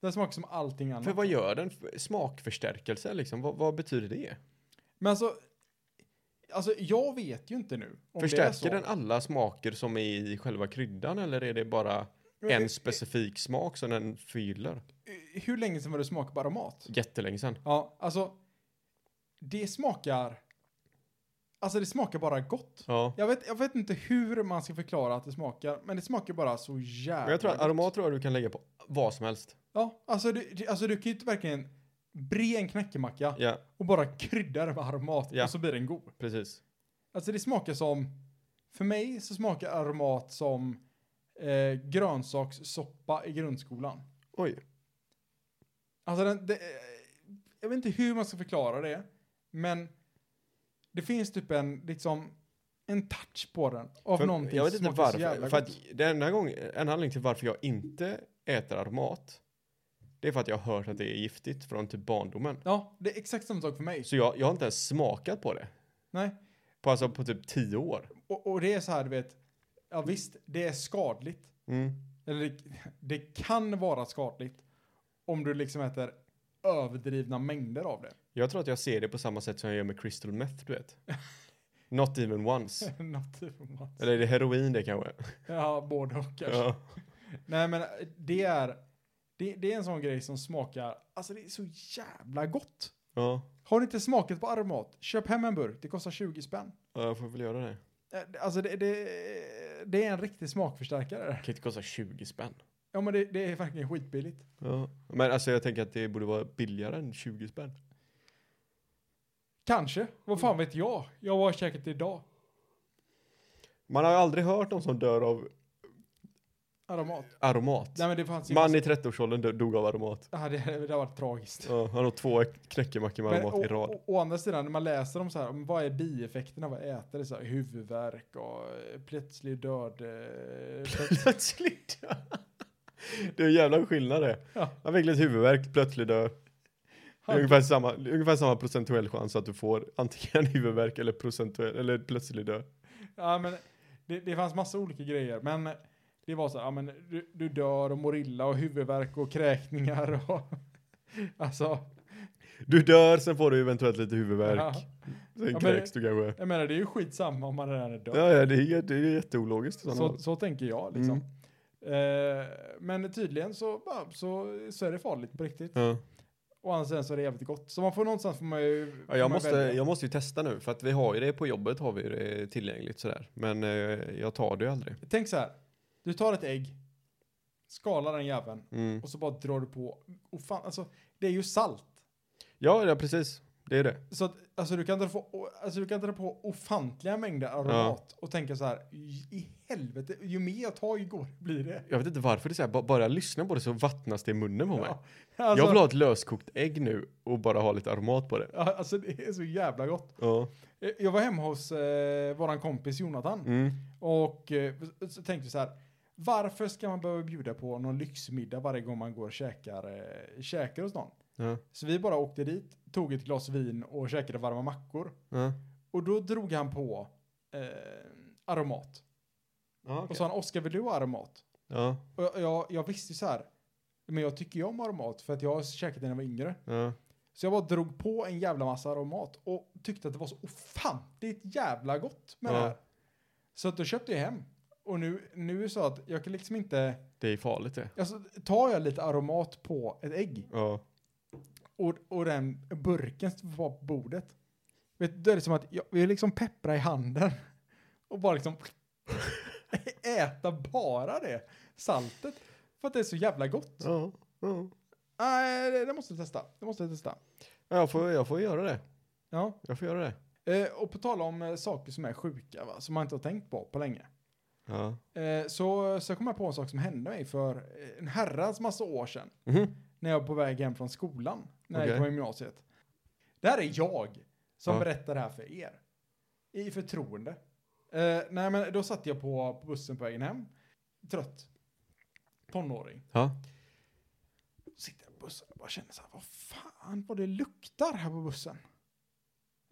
Speaker 1: Den smakar som allting annat.
Speaker 3: För vad gör den? F- Smakförstärkelse liksom, vad, vad betyder det?
Speaker 1: Men alltså, alltså jag vet ju inte nu. Om
Speaker 3: Förstärker
Speaker 1: det är
Speaker 3: den
Speaker 1: så.
Speaker 3: alla smaker som är i själva kryddan eller är det bara
Speaker 1: Men, eh,
Speaker 3: en specifik smak som den fyller?
Speaker 1: eh, Hur länge sedan var det smak på aromat?
Speaker 3: Jättelänge sedan.
Speaker 1: Ja, alltså. Det smakar. Alltså det smakar bara gott.
Speaker 3: Ja.
Speaker 1: Jag vet, jag vet inte hur man ska förklara att det smakar, men det smakar bara så jävla
Speaker 3: Men jag tror att
Speaker 1: gott.
Speaker 3: aromat tror jag du kan lägga på vad som helst.
Speaker 1: Ja, alltså du, du- alltså du kan ju inte verkligen bre en knäckemacka
Speaker 3: Ja,
Speaker 1: och bara krydda det med aromat
Speaker 3: Ja.
Speaker 1: och så blir den god.
Speaker 3: precis.
Speaker 1: Alltså det smakar som, för mig så smakar aromat som eh, grönsakssoppa i grundskolan.
Speaker 3: Oj.
Speaker 1: Alltså den, det, eh, jag vet inte hur man ska förklara det, men det finns typ en, liksom, en touch på den av
Speaker 3: För
Speaker 1: någonting
Speaker 3: jag vet
Speaker 1: som
Speaker 3: inte
Speaker 1: smakar så
Speaker 3: varför.
Speaker 1: jävla
Speaker 3: För att
Speaker 1: gott.
Speaker 3: den här gången, en anledning till varför jag inte äter aromat. Det är för att jag har hört att det är giftigt från typ barndomen.
Speaker 1: Ja, det är exakt samma sak för mig.
Speaker 3: Så jag, jag har inte ens smakat på det.
Speaker 1: Nej.
Speaker 3: På, alltså på typ tio år.
Speaker 1: Och, och det är så här, du vet, ja visst, det är skadligt.
Speaker 3: Mm.
Speaker 1: Eller det, det kan vara skadligt om du liksom äter överdrivna mängder av det.
Speaker 3: Jag tror att jag ser det på samma sätt som jag gör med crystal meth, du vet. Not even once.
Speaker 1: Något typ av mat.
Speaker 3: Eller är det heroin det kanske?
Speaker 1: Ja, både och kanske.
Speaker 3: Ja.
Speaker 1: Nej men eh, det är, det, det är en sån grej som smakar, alltså det är så jävla gott.
Speaker 3: ja.
Speaker 1: Har ni inte smakat på Aromat, köp hem en burk, det kostar 20 spänn.
Speaker 3: Ja, Jag får väl göra det.
Speaker 1: Eh, Alltså det, det, eh, det är en riktig smakförstärkare.
Speaker 3: Det kan inte kosta 20 spänn.
Speaker 1: Ja men det, det är verkligen skitbilligt.
Speaker 3: Ja. Men alltså jag tänker att det borde vara billigare än 20 spänn.
Speaker 1: Kanske, vad fan vet jag? Jag var käkat idag,
Speaker 3: Man har ju aldrig hört någon som dör av
Speaker 1: Aromat.
Speaker 3: aromat.
Speaker 1: Nej men det fanns ju...
Speaker 3: Man i 30-årsåldern dö- dog av aromat.
Speaker 1: Ja, det, det hade varit tragiskt.
Speaker 3: Ja, han åt två knäckemackor med
Speaker 1: Men
Speaker 3: aromat i rad.
Speaker 1: Å, å, å andra sidan, när man läser om så här, om vad är bieffekterna av att äta det? Så här, huvudvärk och eh, plötslig död. eh, plöts-
Speaker 3: Plötsligt dör. Det är en jävla skillnad det.
Speaker 1: Ja.
Speaker 3: Han fick lite huvudvärk, plötsligt dör. Det är ungefär samma, det är ungefär samma procentuell chans att du får antingen huvudvärk eller, procentuell, eller plötslig död.
Speaker 1: ja, men det, det fanns massa olika grejer, men det var så här, ja, men du, du dör och mår illa och huvudvärk och kräkningar och alltså,
Speaker 3: Du dör, sen får du eventuellt lite huvudvärk.
Speaker 1: ja,
Speaker 3: Sen
Speaker 1: men-
Speaker 3: kräks du kanske.
Speaker 1: jag menar det är ju skitsamma om man redan är död.
Speaker 3: Ja, ja det, är, jä- det är jätteologiskt. i sådana
Speaker 1: Så,
Speaker 3: fall.
Speaker 1: så tänker jag liksom.
Speaker 3: Mm.
Speaker 1: Eh, men tydligen så, ja, så, så är det farligt på riktigt.
Speaker 3: Ja.
Speaker 1: Och andra sidan så är det jävligt gott. Så man får någonstans får man ju...
Speaker 3: Ja,
Speaker 1: får
Speaker 3: jag,
Speaker 1: man
Speaker 3: måste,
Speaker 1: välja.
Speaker 3: jag måste ju testa nu, för att vi har ju det på jobbet, har vi ju det tillgängligt sådär. Men eh, jag tar det ju aldrig.
Speaker 1: Tänk så här. Du tar ett ägg, skalar den jäveln
Speaker 3: Mm.
Speaker 1: och så bara drar du på. Och fan, alltså det är ju salt.
Speaker 3: Ja, ja, precis. Det är det.
Speaker 1: Så att, alltså, du kan dra på, alltså du kan dra på ofantliga mängder aromat och tänka så här, "I- i helvete, ju mer jag tar ju går blir det.
Speaker 3: Jag vet inte varför det är så här, ba- bara jag lyssnar på det så vattnas det i munnen på mig.
Speaker 1: Ja, alltså,
Speaker 3: Jag vill ha ett löskokt ägg nu och bara ha lite aromat på det.
Speaker 1: ja, alltså det är så jävla gott.
Speaker 3: Ja.
Speaker 1: Eh, Jag var hemma hos eh, våran kompis Jonathan
Speaker 3: Mm.
Speaker 1: och eh, så tänkte så här, varför ska man behöva bjuda på någon lyxmiddag varje gång man går och käkar, eh, käkar hos någon?
Speaker 3: Ja.
Speaker 1: Så vi bara åkte dit, tog ett glas vin och käkade varma mackor.
Speaker 3: Ja.
Speaker 1: Och då drog han på eh, Aromat.
Speaker 3: Ja,
Speaker 1: Och
Speaker 3: okej.
Speaker 1: sa han, Oskar vill du ha Aromat?
Speaker 3: ja,
Speaker 1: Och jag, jag, jag visste ju så här, men jag tycker ju om Aromat för att jag har käkat det när jag var yngre.
Speaker 3: ja.
Speaker 1: Så jag bara drog på en jävla massa Aromat och tyckte att det var så ofantligt jävla gott med
Speaker 3: Ja.
Speaker 1: det här. Så att då köpte jag hem. Och nu, nu är det så att jag kan liksom inte,
Speaker 3: Det är farligt det.
Speaker 1: alltså tar jag lite Aromat på ett ägg
Speaker 3: Ja.
Speaker 1: och, och den burken var på bordet. Vet du, då är det som att jag vill liksom peppra i handen och bara liksom äta bara det saltet för att det är så jävla gott.
Speaker 3: Ja. ja.
Speaker 1: Nej, det, det måste jag testa. Det måste jag testa.
Speaker 3: Ja, Jag, får, jag får göra det.
Speaker 1: Ja,
Speaker 3: Jag får göra det.
Speaker 1: eh, och på tal om eh, saker som är sjuka va, som man inte har tänkt på på länge.
Speaker 3: Ja.
Speaker 1: Eh, så, så kom jag på en sak som hände mig för eh, en herrans massa år sedan
Speaker 3: Mhm.
Speaker 1: när jag var på väg hem från skolan när jag
Speaker 3: Okej.
Speaker 1: gick på gymnasiet. Det här är jag som
Speaker 3: Ja.
Speaker 1: berättar det här för er. I förtroende. Eh, nej, men då satt jag på, på bussen på vägen hem. Trött. Tonåring.
Speaker 3: Ja.
Speaker 1: Sitter på bussen och bara kände så här, vad fan vad det luktar här på bussen.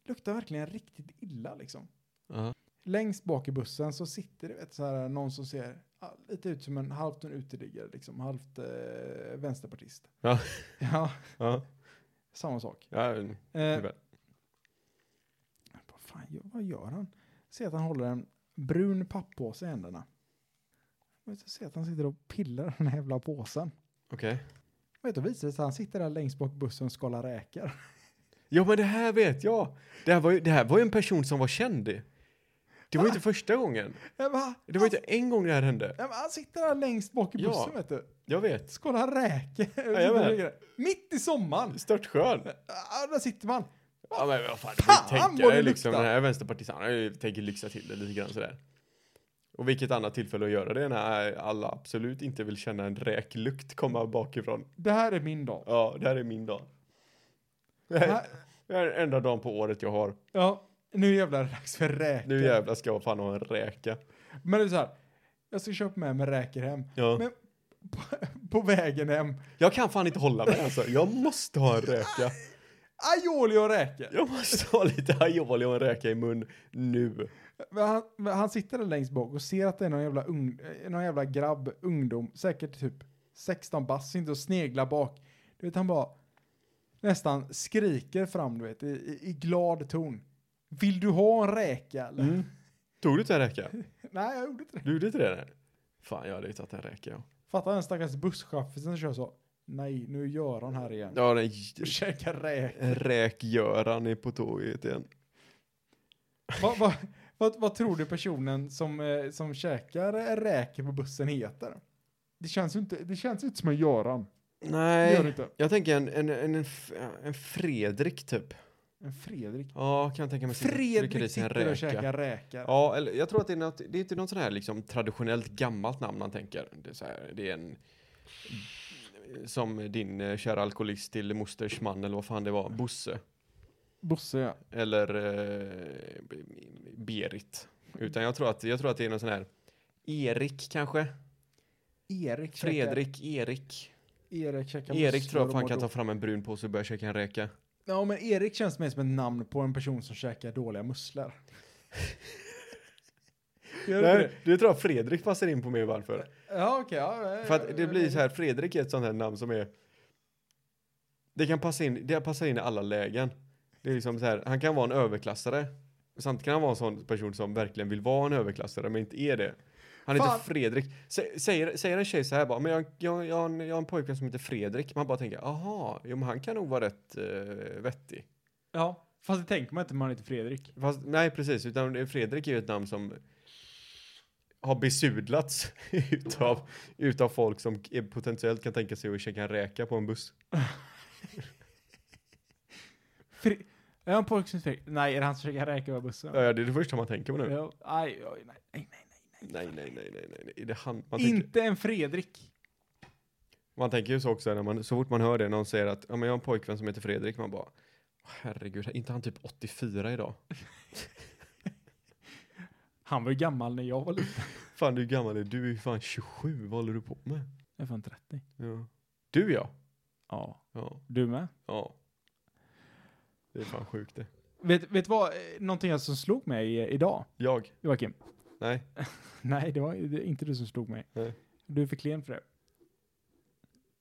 Speaker 1: Det luktar verkligen riktigt illa liksom.
Speaker 3: Ja.
Speaker 1: Längst bak i bussen så sitter det vet, så här, någon som ser ja, lite ut som en halvt en uteliggare, liksom, halvt eh, vänsterpartist.
Speaker 3: Ja.
Speaker 1: ja,
Speaker 3: Ja.
Speaker 1: samma sak.
Speaker 3: Ja.
Speaker 1: Eh,
Speaker 3: Tyvärr.
Speaker 1: vad fan, gör- vad gör han? Ser att han håller en brun papppåse i händerna. Jag ser att han sitter och pillar i den här jävla påsen.
Speaker 3: Okej.
Speaker 1: Vet du, visar det sig att han sitter där längst bak bussen och skalar räkor.
Speaker 3: Jo men det här vet jag. Det här var ju, det här var ju en person som var känd. Det var ju inte första gången.
Speaker 1: Jag bara,
Speaker 3: Det var ju inte en gång det här hände.
Speaker 1: Ja, men han sitter där längst bak i
Speaker 3: Ja.
Speaker 1: bussen, vet du.
Speaker 3: Jag vet.
Speaker 1: Skålar räkor.
Speaker 3: Jajamän.
Speaker 1: Mitt i sommaren.
Speaker 3: Störtskön.
Speaker 1: Ja, där sitter man.
Speaker 3: Ja men vad fan,
Speaker 1: Fan,
Speaker 3: du tänker
Speaker 1: vad
Speaker 3: dig
Speaker 1: det
Speaker 3: liksom
Speaker 1: luktar.
Speaker 3: den här vänsterpartisten, han har ju- tänker lyxa till det lite grann sådär. Och vilket annat tillfälle att göra det när alla absolut inte vill känna en räklukt komma bakifrån.
Speaker 1: Det här är min dag.
Speaker 3: Ja, det här är min dag. Det
Speaker 1: Det
Speaker 3: här
Speaker 1: här-
Speaker 3: det här är enda dagen på året jag har.
Speaker 1: Ja, nu jävlar är det dags för räkor.
Speaker 3: Nu jävlar ska jag fan ha en räka.
Speaker 1: Men det är så här, jag ska köpa med mig räkor hem.
Speaker 3: Ja.
Speaker 1: Men på, på vägen hem,
Speaker 3: Jag kan fan inte hålla mig alltså. Jag måste ha en räka.
Speaker 1: aioli och räkor.
Speaker 3: Jag måste ha lite aioli och en räka i mun nu.
Speaker 1: Men Han, men han sitter där längst bak och ser att det är någon jävla, ung, eh, någon jävla grabb, ungdom, säkert typ 16 bass, sitter och sneglar bak. Du vet, han bara nästan skriker fram, du vet, i, i, i glad ton. Vill du ha en räka eller?
Speaker 3: Mm. Tog du inte en räka?
Speaker 1: Nej, jag gjorde inte det.
Speaker 3: Du gjorde inte det? där? Fan, jag hade ju tagit en räka ja.
Speaker 1: Fattar den stackars busschauffören som kör så. Nej, nu är Göran här igen.
Speaker 3: Ja, den
Speaker 1: Och käkar räk.
Speaker 3: Räkgöran är på tåget igen.
Speaker 1: vad, vad, vad, vad tror du personen som, eh, som käkar räkor på bussen heter? Det känns ju inte, det känns ju inte som en Göran. Det gör det
Speaker 3: Nej,
Speaker 1: inte.
Speaker 3: jag tänker en, en, en, en, f- en Fredrik typ.
Speaker 1: En Fredrik.
Speaker 3: Ja, kan jag tänka mig. sitter- trycker i
Speaker 1: Fredrik
Speaker 3: sig en
Speaker 1: sitter och
Speaker 3: räka.
Speaker 1: käkar räkor.
Speaker 3: Ja, eller jag tror att det är något, det är inte något sån här liksom traditionellt gammalt namn han tänker. Det är, så här, det är en, som din eh, kära alkoholist till mosters man eller vad fan det var, Bosse.
Speaker 1: Bosse, ja.
Speaker 3: Eller eh, B- Berit. Utan jag tror, att, jag tror att det är någon sån här Erik kanske?
Speaker 1: Erik käkar-
Speaker 3: Fredrik, Erik.
Speaker 1: Erik käkar
Speaker 3: Erik
Speaker 1: musslor
Speaker 3: tror jag
Speaker 1: och
Speaker 3: fan
Speaker 1: mår
Speaker 3: kan ta
Speaker 1: dåligt.
Speaker 3: fram en brun påse och börja käka en räka.
Speaker 1: Ja, men Erik känns mer som ett namn på en person som käkar dåliga musslor. Gör du det?
Speaker 3: det tror jag Fredrik passar in på mig varför.
Speaker 1: Ja, okej. ja, eh,
Speaker 3: För att det blir så här, Fredrik är ett sånt här namn som är... Det kan passa in, det passar in i alla lägen. Det är liksom så här, han kan vara en överklassare. Samtidigt kan han vara en sån person som verkligen vill vara en överklassare men inte är det. Han heter
Speaker 1: Fan.
Speaker 3: Fredrik. Sä- Säger, säger en tjej så här bara, men jag, jag, jag, har en, jag har en pojkvän som heter Fredrik. Man bara tänker, aha, jo men han kan nog vara rätt eh, vettig.
Speaker 1: Ja, fast det tänker man inte när man heter Fredrik.
Speaker 3: Fast, nej, precis. Utan det- Fredrik är ju ett namn som har besudlats utav, utav folk som är- potentiellt kan tänka sig att käka en räka på en buss.
Speaker 1: Fre- är han pojk som heter Fredrik? Nej, är det han som käkar räkor på bussen?
Speaker 3: Ja, det är det första man tänker på nu.
Speaker 1: Ja, aj, oj, nej, nej, nej.
Speaker 3: Nej, nej, nej, nej, nej, nej. Det är han, man, tänker,
Speaker 1: Inte en Fredrik.
Speaker 3: man tänker ju så också när man, så fort man hör det, någon säger att ja, men jag har en pojkvän som heter Fredrik, man bara herregud, är inte han typ 84 idag?
Speaker 1: Han var ju gammal när jag var liten.
Speaker 3: Fan, du är gammal, är du är ju fan 27, vad håller du på med?
Speaker 1: Jag är fan 30.
Speaker 3: Ja. Du ja.
Speaker 1: Ja.
Speaker 3: Ja,
Speaker 1: Du med?
Speaker 3: ja. Det är fan sjukt det.
Speaker 1: Vet, vet vad, eh, någonting jag som slog mig eh, idag,
Speaker 3: Jag?
Speaker 1: Joakim?
Speaker 3: Nej.
Speaker 1: Nej, det var det är inte du som slog mig.
Speaker 3: Nej.
Speaker 1: Du är för klen för det.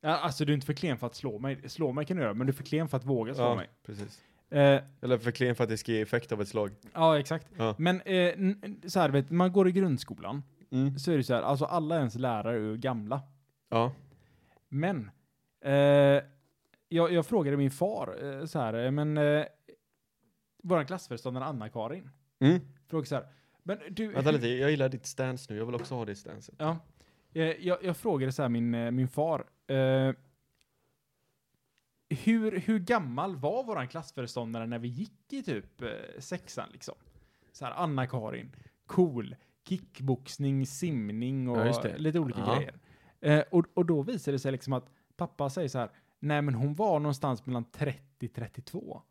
Speaker 1: Ja, alltså, du är inte för klen för att slå mig. Slå mig kan du göra, men du är för klen för att våga slå
Speaker 3: ja,
Speaker 1: mig.
Speaker 3: precis.
Speaker 1: Eh,
Speaker 3: Eller för klen för att det ska ge effekt av ett slag.
Speaker 1: ja, exakt.
Speaker 3: Ja.
Speaker 1: Men eh, n- n- så här, vet, man går i grundskolan,
Speaker 3: Mm.
Speaker 1: så är det så här, alltså alla ens lärare är ju gamla.
Speaker 3: Ja.
Speaker 1: Men, eh, jag, jag frågade min far eh, så här, eh, men eh, vår klassföreståndare Anna-Karin,
Speaker 3: Mm.
Speaker 1: frågade så här, men du...
Speaker 3: Vänta lite, jag gillar ditt stance nu. Jag vill också ha det stanset.
Speaker 1: Ja. Eh, Jag, jag frågade så här min, eh, min far. Eh, hur, hur gammal var våran klassföreståndare när vi gick i typ eh, sexan liksom? Så här Anna-Karin, cool, kickboxning, simning och
Speaker 3: Ja, just det.
Speaker 1: lite olika
Speaker 3: Ja.
Speaker 1: grejer. Eh, och, och då visade det sig liksom att pappa säger så här, nej men hon var någonstans mellan 30-32.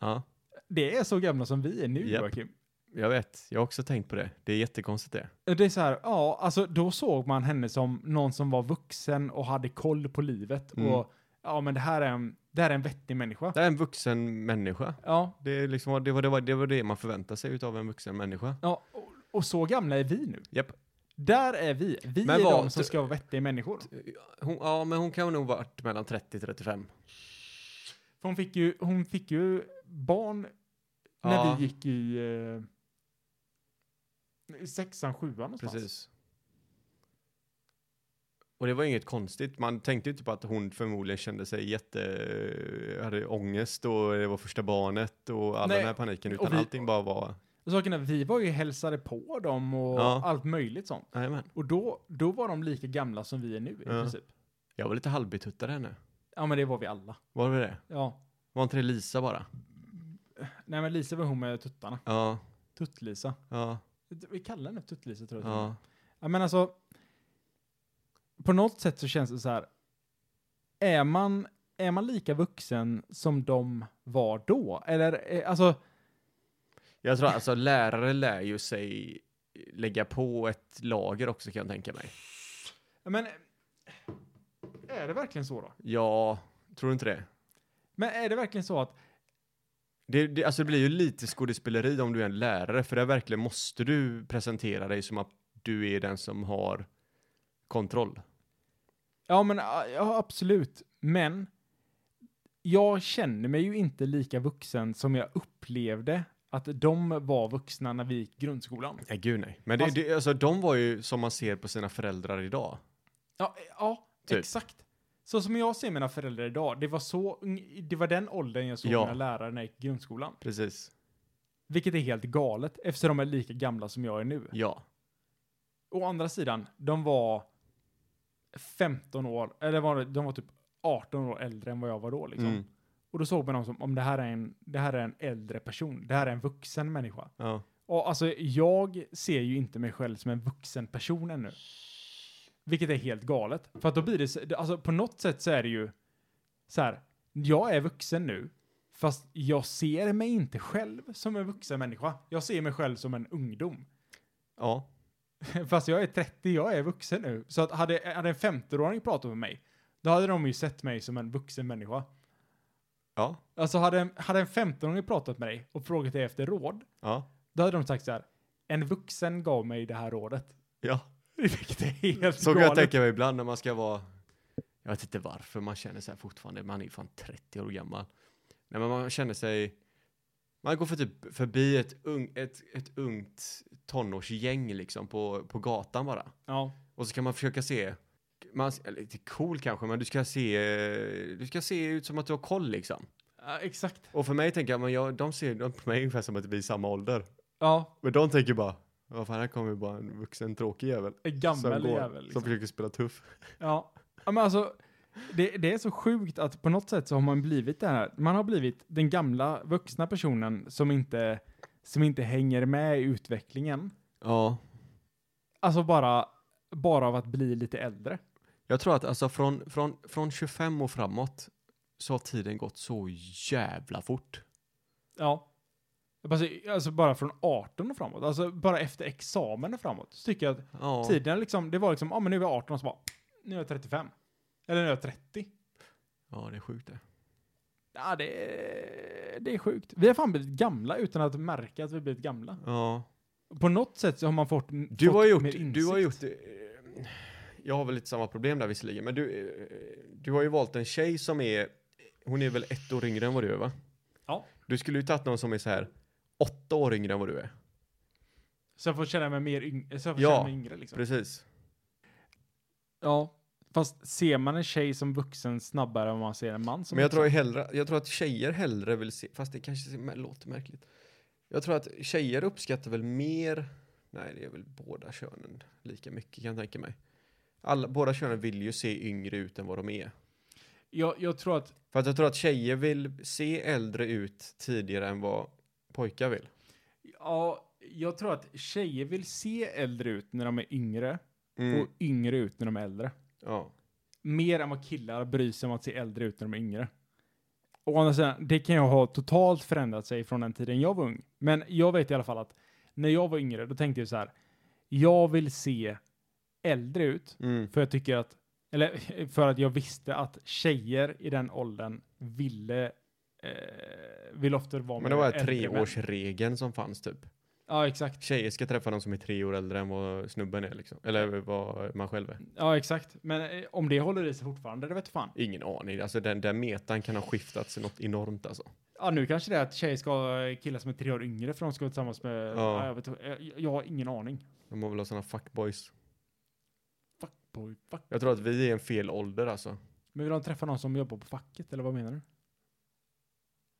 Speaker 3: Ja,
Speaker 1: Det är så gamla som vi är nu
Speaker 3: Japp.
Speaker 1: Joakim.
Speaker 3: jag vet. Jag har också tänkt på det. Det är jättekonstigt det.
Speaker 1: Det är så här, ja, alltså då såg man henne som någon som var vuxen och hade koll på livet
Speaker 3: Mm.
Speaker 1: och ja men det här är en, det här är en vettig människa.
Speaker 3: Det är en vuxen människa.
Speaker 1: Ja,
Speaker 3: Det, är liksom, det, var, det, var, det var det man förväntar sig utav en vuxen människa.
Speaker 1: ja och, och så gamla är vi nu.
Speaker 3: Japp.
Speaker 1: Där är vi. Vi
Speaker 3: Men
Speaker 1: är
Speaker 3: vad-
Speaker 1: de som ska vara vettiga människor.
Speaker 3: Hon, ja, men hon kan nog varit mellan 30 och 35.
Speaker 1: För hon fick ju, hon fick ju barn när
Speaker 3: Ja.
Speaker 1: vi gick i eh, i sexan, sjuan någonstans.
Speaker 3: Precis. Och det var inget konstigt. Man tänkte ju inte på att hon förmodligen kände sig jätte... eh, hade ångest och det var första barnet och all
Speaker 1: Nej,
Speaker 3: den här paniken.
Speaker 1: och
Speaker 3: Utan
Speaker 1: vi-
Speaker 3: allting bara var...
Speaker 1: Och saken är, vi var ju hälsade på dem och
Speaker 3: Ja.
Speaker 1: allt möjligt sånt.
Speaker 3: Jajamän.
Speaker 1: Och då, då var de lika gamla som vi är nu i
Speaker 3: Ja.
Speaker 1: princip.
Speaker 3: Jag var lite halvbetuttad henne.
Speaker 1: Ja men det var vi alla.
Speaker 3: Var det det?
Speaker 1: Ja.
Speaker 3: Var inte det Lisa bara?
Speaker 1: Nej men Lisa var hon med tuttarna.
Speaker 3: Ja,
Speaker 1: Tuttlisa.
Speaker 3: ja,
Speaker 1: Vi kallar henne Tuttlisa tror jag.
Speaker 3: ja.
Speaker 1: Ja, men alltså, på något sätt så känns det så här, är man, är man lika vuxen som de var då? Eller eh, alltså,
Speaker 3: Jag tror alltså lärare lär ju sig lägga på ett lager också kan jag tänka mig.
Speaker 1: ja, men eh, är det verkligen så då?
Speaker 3: Ja, tror du inte det?
Speaker 1: Men är det verkligen så att,
Speaker 3: Det, det, alltså det blir ju lite skådespeleri om du är en lärare, för där verkligen måste du presentera dig som att du är den som har kontroll.
Speaker 1: ja men ah, ja, absolut, men jag känner mig ju inte lika vuxen som jag upplevde att de var vuxna när vi gick grundskolan.
Speaker 3: Nej, gud nej. Men det,
Speaker 1: Alltså-
Speaker 3: det, alltså, de var ju som man ser på sina föräldrar idag.
Speaker 1: Ja, eh, ja
Speaker 3: Typ.
Speaker 1: exakt. Så som jag ser mina föräldrar idag, det var, så, ung- det var den åldern jag såg
Speaker 3: Ja.
Speaker 1: mina lärare när jag gick i grundskolan.
Speaker 3: Precis.
Speaker 1: Vilket är helt galet, eftersom de är lika gamla som jag är nu.
Speaker 3: Ja.
Speaker 1: Å andra sidan, de var 15 år, eller var, det- de var typ 18 år äldre än vad jag var då. Liksom.
Speaker 3: Mm.
Speaker 1: Och då såg man dem som, om det här, är en, det här är en äldre person, det här är en vuxen människa.
Speaker 3: ja.
Speaker 1: Och alltså, jag ser ju inte mig själv som en vuxen person ännu. Vilket är helt galet. För att då blir det, så- det- alltså på något sätt så är det ju så här, jag är vuxen nu, fast jag ser mig inte själv som en vuxen människa. Jag ser mig själv som en ungdom.
Speaker 3: Ja.
Speaker 1: Fast jag är 30, jag är vuxen nu. Så att hade, hade en 15-åring pratat med mig, då hade de ju sett mig som en vuxen människa.
Speaker 3: Ja.
Speaker 1: Alltså hade, en- hade en 15-åring pratat med dig och frågat dig efter råd,
Speaker 3: Ja.
Speaker 1: då hade de sagt så här, en vuxen gav mig det här rådet.
Speaker 3: Ja.
Speaker 1: Vilket är helt
Speaker 3: Så kan jag
Speaker 1: galet.
Speaker 3: tänka mig ibland när man ska vara, jag vet inte varför man känner sig fortfarande, man är ju fan 30 år gammal. Nej men man känner sig, man går för typ förbi ett, ung, ett, ett ungt tonårsgäng liksom på, på gatan bara.
Speaker 1: Ja.
Speaker 3: Och så kan man försöka se, man, eller lite cool kanske, men du ska se, du ska se ut som att du har koll liksom.
Speaker 1: ja, exakt.
Speaker 3: Och för mig tänker jag, men jag, de ser de på mig ungefär som att vi är i samma ålder.
Speaker 1: Ja,
Speaker 3: Men de tänker bara, vad fan här kommer ju bara en vuxen tråkig jävel.
Speaker 1: en
Speaker 3: som
Speaker 1: gammal
Speaker 3: går-
Speaker 1: jävel.
Speaker 3: Som
Speaker 1: Liksom.
Speaker 3: försöker spela tuff.
Speaker 1: Ja. ja, men alltså, det, det är så sjukt att på något sätt så har man blivit det här. Man har blivit den gamla vuxna personen som inte, som inte hänger med i utvecklingen.
Speaker 3: Ja.
Speaker 1: Alltså bara, bara av att bli lite äldre.
Speaker 3: Jag tror att alltså från, från, från 25 och framåt så har tiden gått så jävla fort.
Speaker 1: Ja. Alltså, alltså bara från 18 och framåt, alltså bara efter examen och framåt, så tycker jag att
Speaker 3: Ja.
Speaker 1: tiden liksom, det var liksom, ja ah, men nu är jag 18 och så bara, nu är jag 35. Eller nu är jag 30.
Speaker 3: ja, det är sjukt det.
Speaker 1: Ja, det är, det är sjukt. Vi har fan blivit gamla utan att märka att vi blivit gamla.
Speaker 3: Ja.
Speaker 1: På något sätt så har man fått m-
Speaker 3: Du
Speaker 1: fått
Speaker 3: har
Speaker 1: mer
Speaker 3: gjort,
Speaker 1: insikt.
Speaker 3: du har gjort, eh, jag har väl lite samma problem där visserligen, men du, eh, du har ju valt en tjej som är, hon är väl ett år yngre än vad du är va?
Speaker 1: Ja.
Speaker 3: Du skulle ju tagit någon som är så här åtta år yngre än vad du är.
Speaker 1: Så jag får känna mig mer yng- så jag får
Speaker 3: Ja,
Speaker 1: känna mig yngre liksom.
Speaker 3: Precis.
Speaker 1: Ja. Fast ser man en tjej som vuxen snabbare än man ser en man som
Speaker 3: Men jag tror,
Speaker 1: vuxen?
Speaker 3: ju hellre, jag tror att tjejer hellre vill se, fast det kanske ser- men låter märkligt. Jag tror att tjejer uppskattar väl mer, nej det är väl båda könen lika mycket kan jag tänka mig. Alla, båda könen vill ju se yngre ut än vad de är.
Speaker 1: jag, jag tror att,
Speaker 3: För att jag tror att tjejer vill se äldre ut tidigare än vad pojkar vill.
Speaker 1: ja, jag tror att tjejer vill se äldre ut när de är yngre
Speaker 3: Mm.
Speaker 1: och yngre ut när de är äldre.
Speaker 3: Ja.
Speaker 1: mer än vad killar bryr sig om att se äldre ut när de är yngre. Å andra sidan, det kan ju ha totalt förändrat sig från den tiden jag var ung. Men jag vet i alla fall att när jag var yngre, då tänkte jag så här. Jag vill se äldre ut,
Speaker 3: Mm.
Speaker 1: för jag tycker att Eller för att jag visste att tjejer i den åldern ville, eh, vill ofta vara
Speaker 3: Men det var
Speaker 1: äldre män.
Speaker 3: treårsregeln som fanns typ.
Speaker 1: Ja, exakt.
Speaker 3: Tjejer ska träffa någon som är tre år äldre än vad snubben är liksom. Eller vad man själv är.
Speaker 1: Ja, exakt. Men eh, om det håller i sig fortfarande, det vet fan.
Speaker 3: Ingen aning. Alltså den där metan kan ha skiftats något enormt alltså.
Speaker 1: Ja, nu kanske det är att tjejer ska ha killar som är tre år yngre för de ska vara tillsammans med... Ja. jag, vet, inte. jag, jag har ingen aning.
Speaker 3: De har väl ha sådana fuckboys.
Speaker 1: Fuckboy, fuck.
Speaker 3: Jag tror att vi är en fel ålder alltså.
Speaker 1: Men vill de träffa någon som jobbar på facket, eller vad menar du?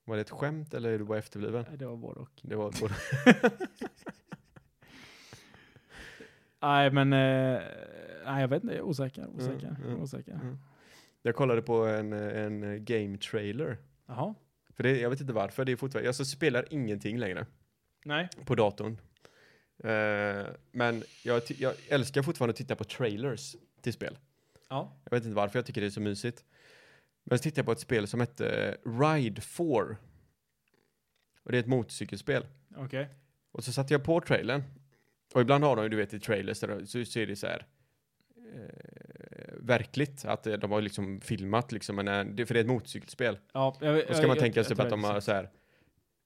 Speaker 3: Var det ett skämt eller är du bara efterbliven?
Speaker 1: Nej, det var både och.
Speaker 3: Det var både...
Speaker 1: Nej, men... Eh, nej, jag vet inte. Jag är osäker. Osäker.
Speaker 3: Mm, mm,
Speaker 1: osäker.
Speaker 3: mm. Jag kollade på en, en game trailer.
Speaker 1: Jaha.
Speaker 3: För det, jag vet inte varför, det är fortfarande, alltså spelar ingenting längre
Speaker 1: Nej.
Speaker 3: på datorn. Eh, men jag, ty- jag älskar fortfarande att titta på trailers till spel.
Speaker 1: Ja.
Speaker 3: Jag vet inte varför jag tycker det är så mysigt. Men så tittade jag på ett spel som hette Ride 4. Och det är ett motorcykelspel.
Speaker 1: Okej.
Speaker 3: Och så satte jag på trailern. Och ibland har de ju, du vet, i trailers där de- så, så är det så här eh, verkligt. Att eh, de har liksom filmat liksom, men, eh, det, för det är ett motorcykelspel.
Speaker 1: Ja, jag,
Speaker 3: Då ska man tänka sig typ att de har så här,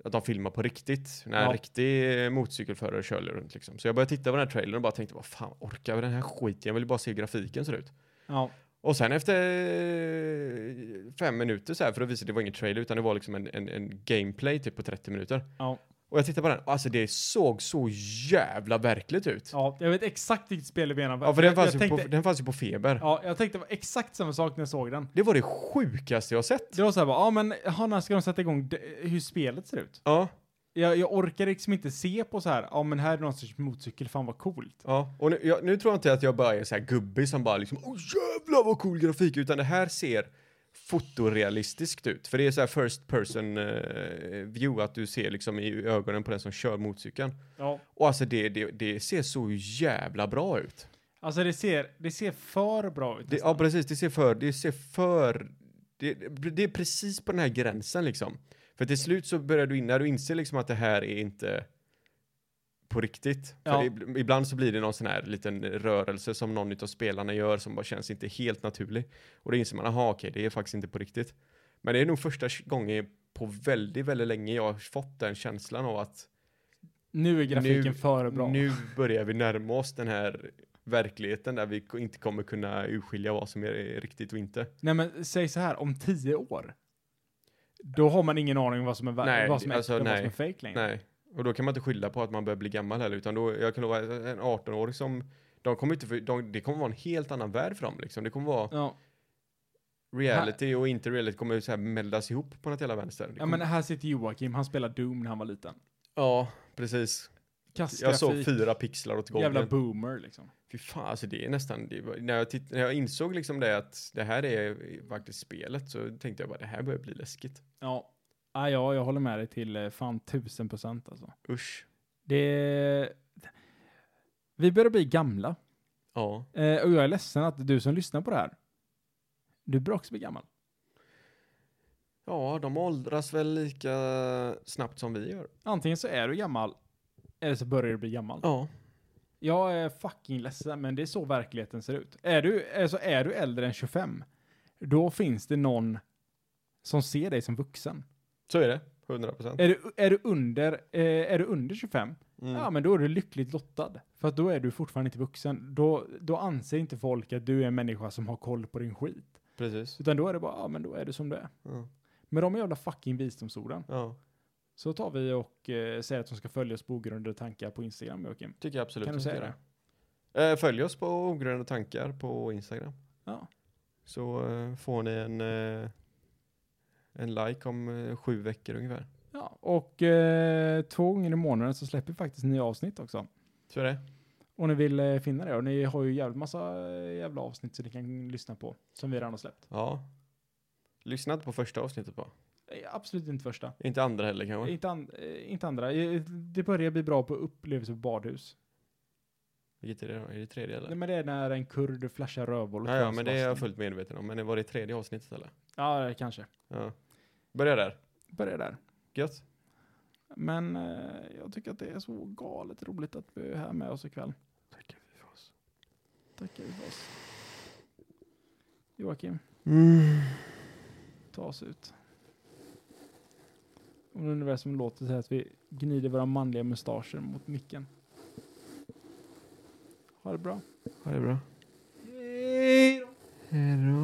Speaker 3: att de filmar på riktigt. När
Speaker 1: Ja.
Speaker 3: en riktig eh, motorcykelförare kör runt liksom. Så jag började titta på den här trailern och bara tänkte, vad fan orkar jag med den här skiten? Jag vill ju bara se hur grafiken ser ut.
Speaker 1: Ja.
Speaker 3: Och sen efter eh, fem minuter så här, för att visa att det var ingen trailer utan det var liksom en, en, en gameplay typ på 30 minuter.
Speaker 1: Ja.
Speaker 3: Och jag tittade på den, och alltså det såg så jävla verkligt ut. Ja,
Speaker 1: ja, jag vet exakt vilket spel du menar.
Speaker 3: för den
Speaker 1: jag,
Speaker 3: fanns,
Speaker 1: jag
Speaker 3: ju på,
Speaker 1: tänkte,
Speaker 3: den fanns ju på Feber.
Speaker 1: Ja, jag tänkte på exakt samma sak när jag såg den.
Speaker 3: Det var det sjukaste jag sett.
Speaker 1: Det var så här bara, ja men jaha, när ska de sätta igång d- hur spelet ser ut?
Speaker 3: Ja,
Speaker 1: Jag, jag orkar liksom inte se på så här, ja men här är någon sorts motorcykel, fan vad coolt.
Speaker 3: ja. Och nu, jag, nu tror jag inte att jag bara är så här gubbig som bara liksom, åh jävlar vad cool grafik, utan det här ser fotorealistiskt ut. För det är så här first person eh, view, att du ser liksom i ögonen på den som kör motorcykeln.
Speaker 1: Ja.
Speaker 3: Och alltså det, det, det ser så jävla bra ut.
Speaker 1: Alltså det ser, det ser för bra ut.
Speaker 3: Det,
Speaker 1: nästan.
Speaker 3: ja precis, det ser för, det ser för, det, det är precis på den här gränsen liksom. För till slut så börjar du in, när du inser liksom att det här är inte på riktigt.
Speaker 1: Ja.
Speaker 3: För ib- ibland så blir det någon sån här liten rörelse som någon utav spelarna gör som bara känns inte helt naturlig. Och då inser man, aha okej, det är faktiskt inte på riktigt. Men det är nog första gången på väldigt, väldigt länge jag har fått den känslan av att
Speaker 1: nu är grafiken
Speaker 3: nu-
Speaker 1: för bra.
Speaker 3: nu börjar vi närma oss den här verkligheten där vi ko- inte kommer kunna urskilja vad som är riktigt och inte.
Speaker 1: Nej men säg så här, om tio år. Då har man ingen aning om vad som är, ver-
Speaker 3: Nej,
Speaker 1: vad som är,
Speaker 3: alltså,
Speaker 1: äkta och vad
Speaker 3: nej.
Speaker 1: som är fake längre.
Speaker 3: Nej, och då kan man inte skylla på att man börjar bli gammal heller, utan då, jag kan lova en 18-åring som, de kommer inte, för, de, det kommer vara en helt annan värld för dem liksom. Det kommer vara
Speaker 1: Ja,
Speaker 3: reality och inte reality kommer så här meldas ihop på något jävla vänster. Det
Speaker 1: ja
Speaker 3: kommer,
Speaker 1: men här sitter Joakim, han spelade Doom när han var liten.
Speaker 3: ja, precis.
Speaker 1: Kass
Speaker 3: Jag såg
Speaker 1: grafik,
Speaker 3: fyra pixlar åt gången.
Speaker 1: jävla boomer liksom.
Speaker 3: Fy fan, alltså det är nästan, det var, när, jag titt, när jag insåg liksom det att det här är faktiskt spelet så tänkte jag bara det här börjar bli läskigt.
Speaker 1: Ja. Ah, ja, jag håller med dig till eh, fan tusen procent alltså.
Speaker 3: Usch.
Speaker 1: Det... Vi börjar bli gamla.
Speaker 3: Ja.
Speaker 1: Eh, och jag är ledsen att du som lyssnar på det här, du börjar också bli gammal.
Speaker 3: Ja, de åldras väl lika snabbt som vi gör.
Speaker 1: Antingen så är du gammal, eller så börjar du bli gammal.
Speaker 3: Ja.
Speaker 1: Jag är fucking ledsen, men det är så verkligheten ser ut. Är du, alltså är du äldre än 25, då finns det någon som ser dig som vuxen.
Speaker 3: Så är det. 100 procent.
Speaker 1: Är du, är du, under, eh, är du under 25, ja
Speaker 3: Mm.
Speaker 1: men då är du lyckligt lottad. För att då är du fortfarande inte vuxen. Då, då anser inte folk att du är en människa som har koll på din skit.
Speaker 3: Precis.
Speaker 1: Utan då är det bara, ja men då är du som du är.
Speaker 3: Ja.
Speaker 1: Med de jävla fucking visdomsorden
Speaker 3: ja,
Speaker 1: så tar vi och eh, säger att de ska följa oss på ogrundade tankar på Instagram, Joakim.
Speaker 3: tycker jag absolut.
Speaker 1: Kan du
Speaker 3: att
Speaker 1: säga
Speaker 3: vi ska göra. Eh, följ oss på Ogrönade Tankar på Instagram.
Speaker 1: Ja.
Speaker 3: Så eh, får ni en, eh, en like om eh, sju veckor ungefär.
Speaker 1: Ja, och eh, två gånger i månaden så släpper vi faktiskt nya avsnitt också.
Speaker 3: Så är det.
Speaker 1: Och ni vill eh, finna det och ni har ju jävligt massa eh, jävla avsnitt så ni kan lyssna på som vi redan har släppt.
Speaker 3: Ja. Lyssna inte på första avsnittet bara.
Speaker 1: Eh, Absolut inte första.
Speaker 3: Inte andra heller kanske.
Speaker 1: Inte, an- eh, inte andra. Eh, Det börjar bli bra på upplevelser på badhus.
Speaker 3: Vilket är det då? Är det tredje eller?
Speaker 1: Nej, men det är när en kurd flashar rövhål. åt
Speaker 3: ja, ja, men det är jag
Speaker 1: Sebastian.
Speaker 3: fullt medveten om. Men det var det tredje avsnittet eller?
Speaker 1: Ja, det kanske.
Speaker 3: Ja. Börja där.
Speaker 1: Börja där.
Speaker 3: Gött.
Speaker 1: Men eh, jag tycker att det är så galet roligt att vi är här med oss ikväll. Tackar vi för oss. Tackar vi för oss. Joakim, Mm. ta oss ut. Om universum låter så här att vi gnider våra manliga mustascher mot micken. Ha det bra.
Speaker 3: Ha det bra.
Speaker 1: Hej då!
Speaker 3: Hej då.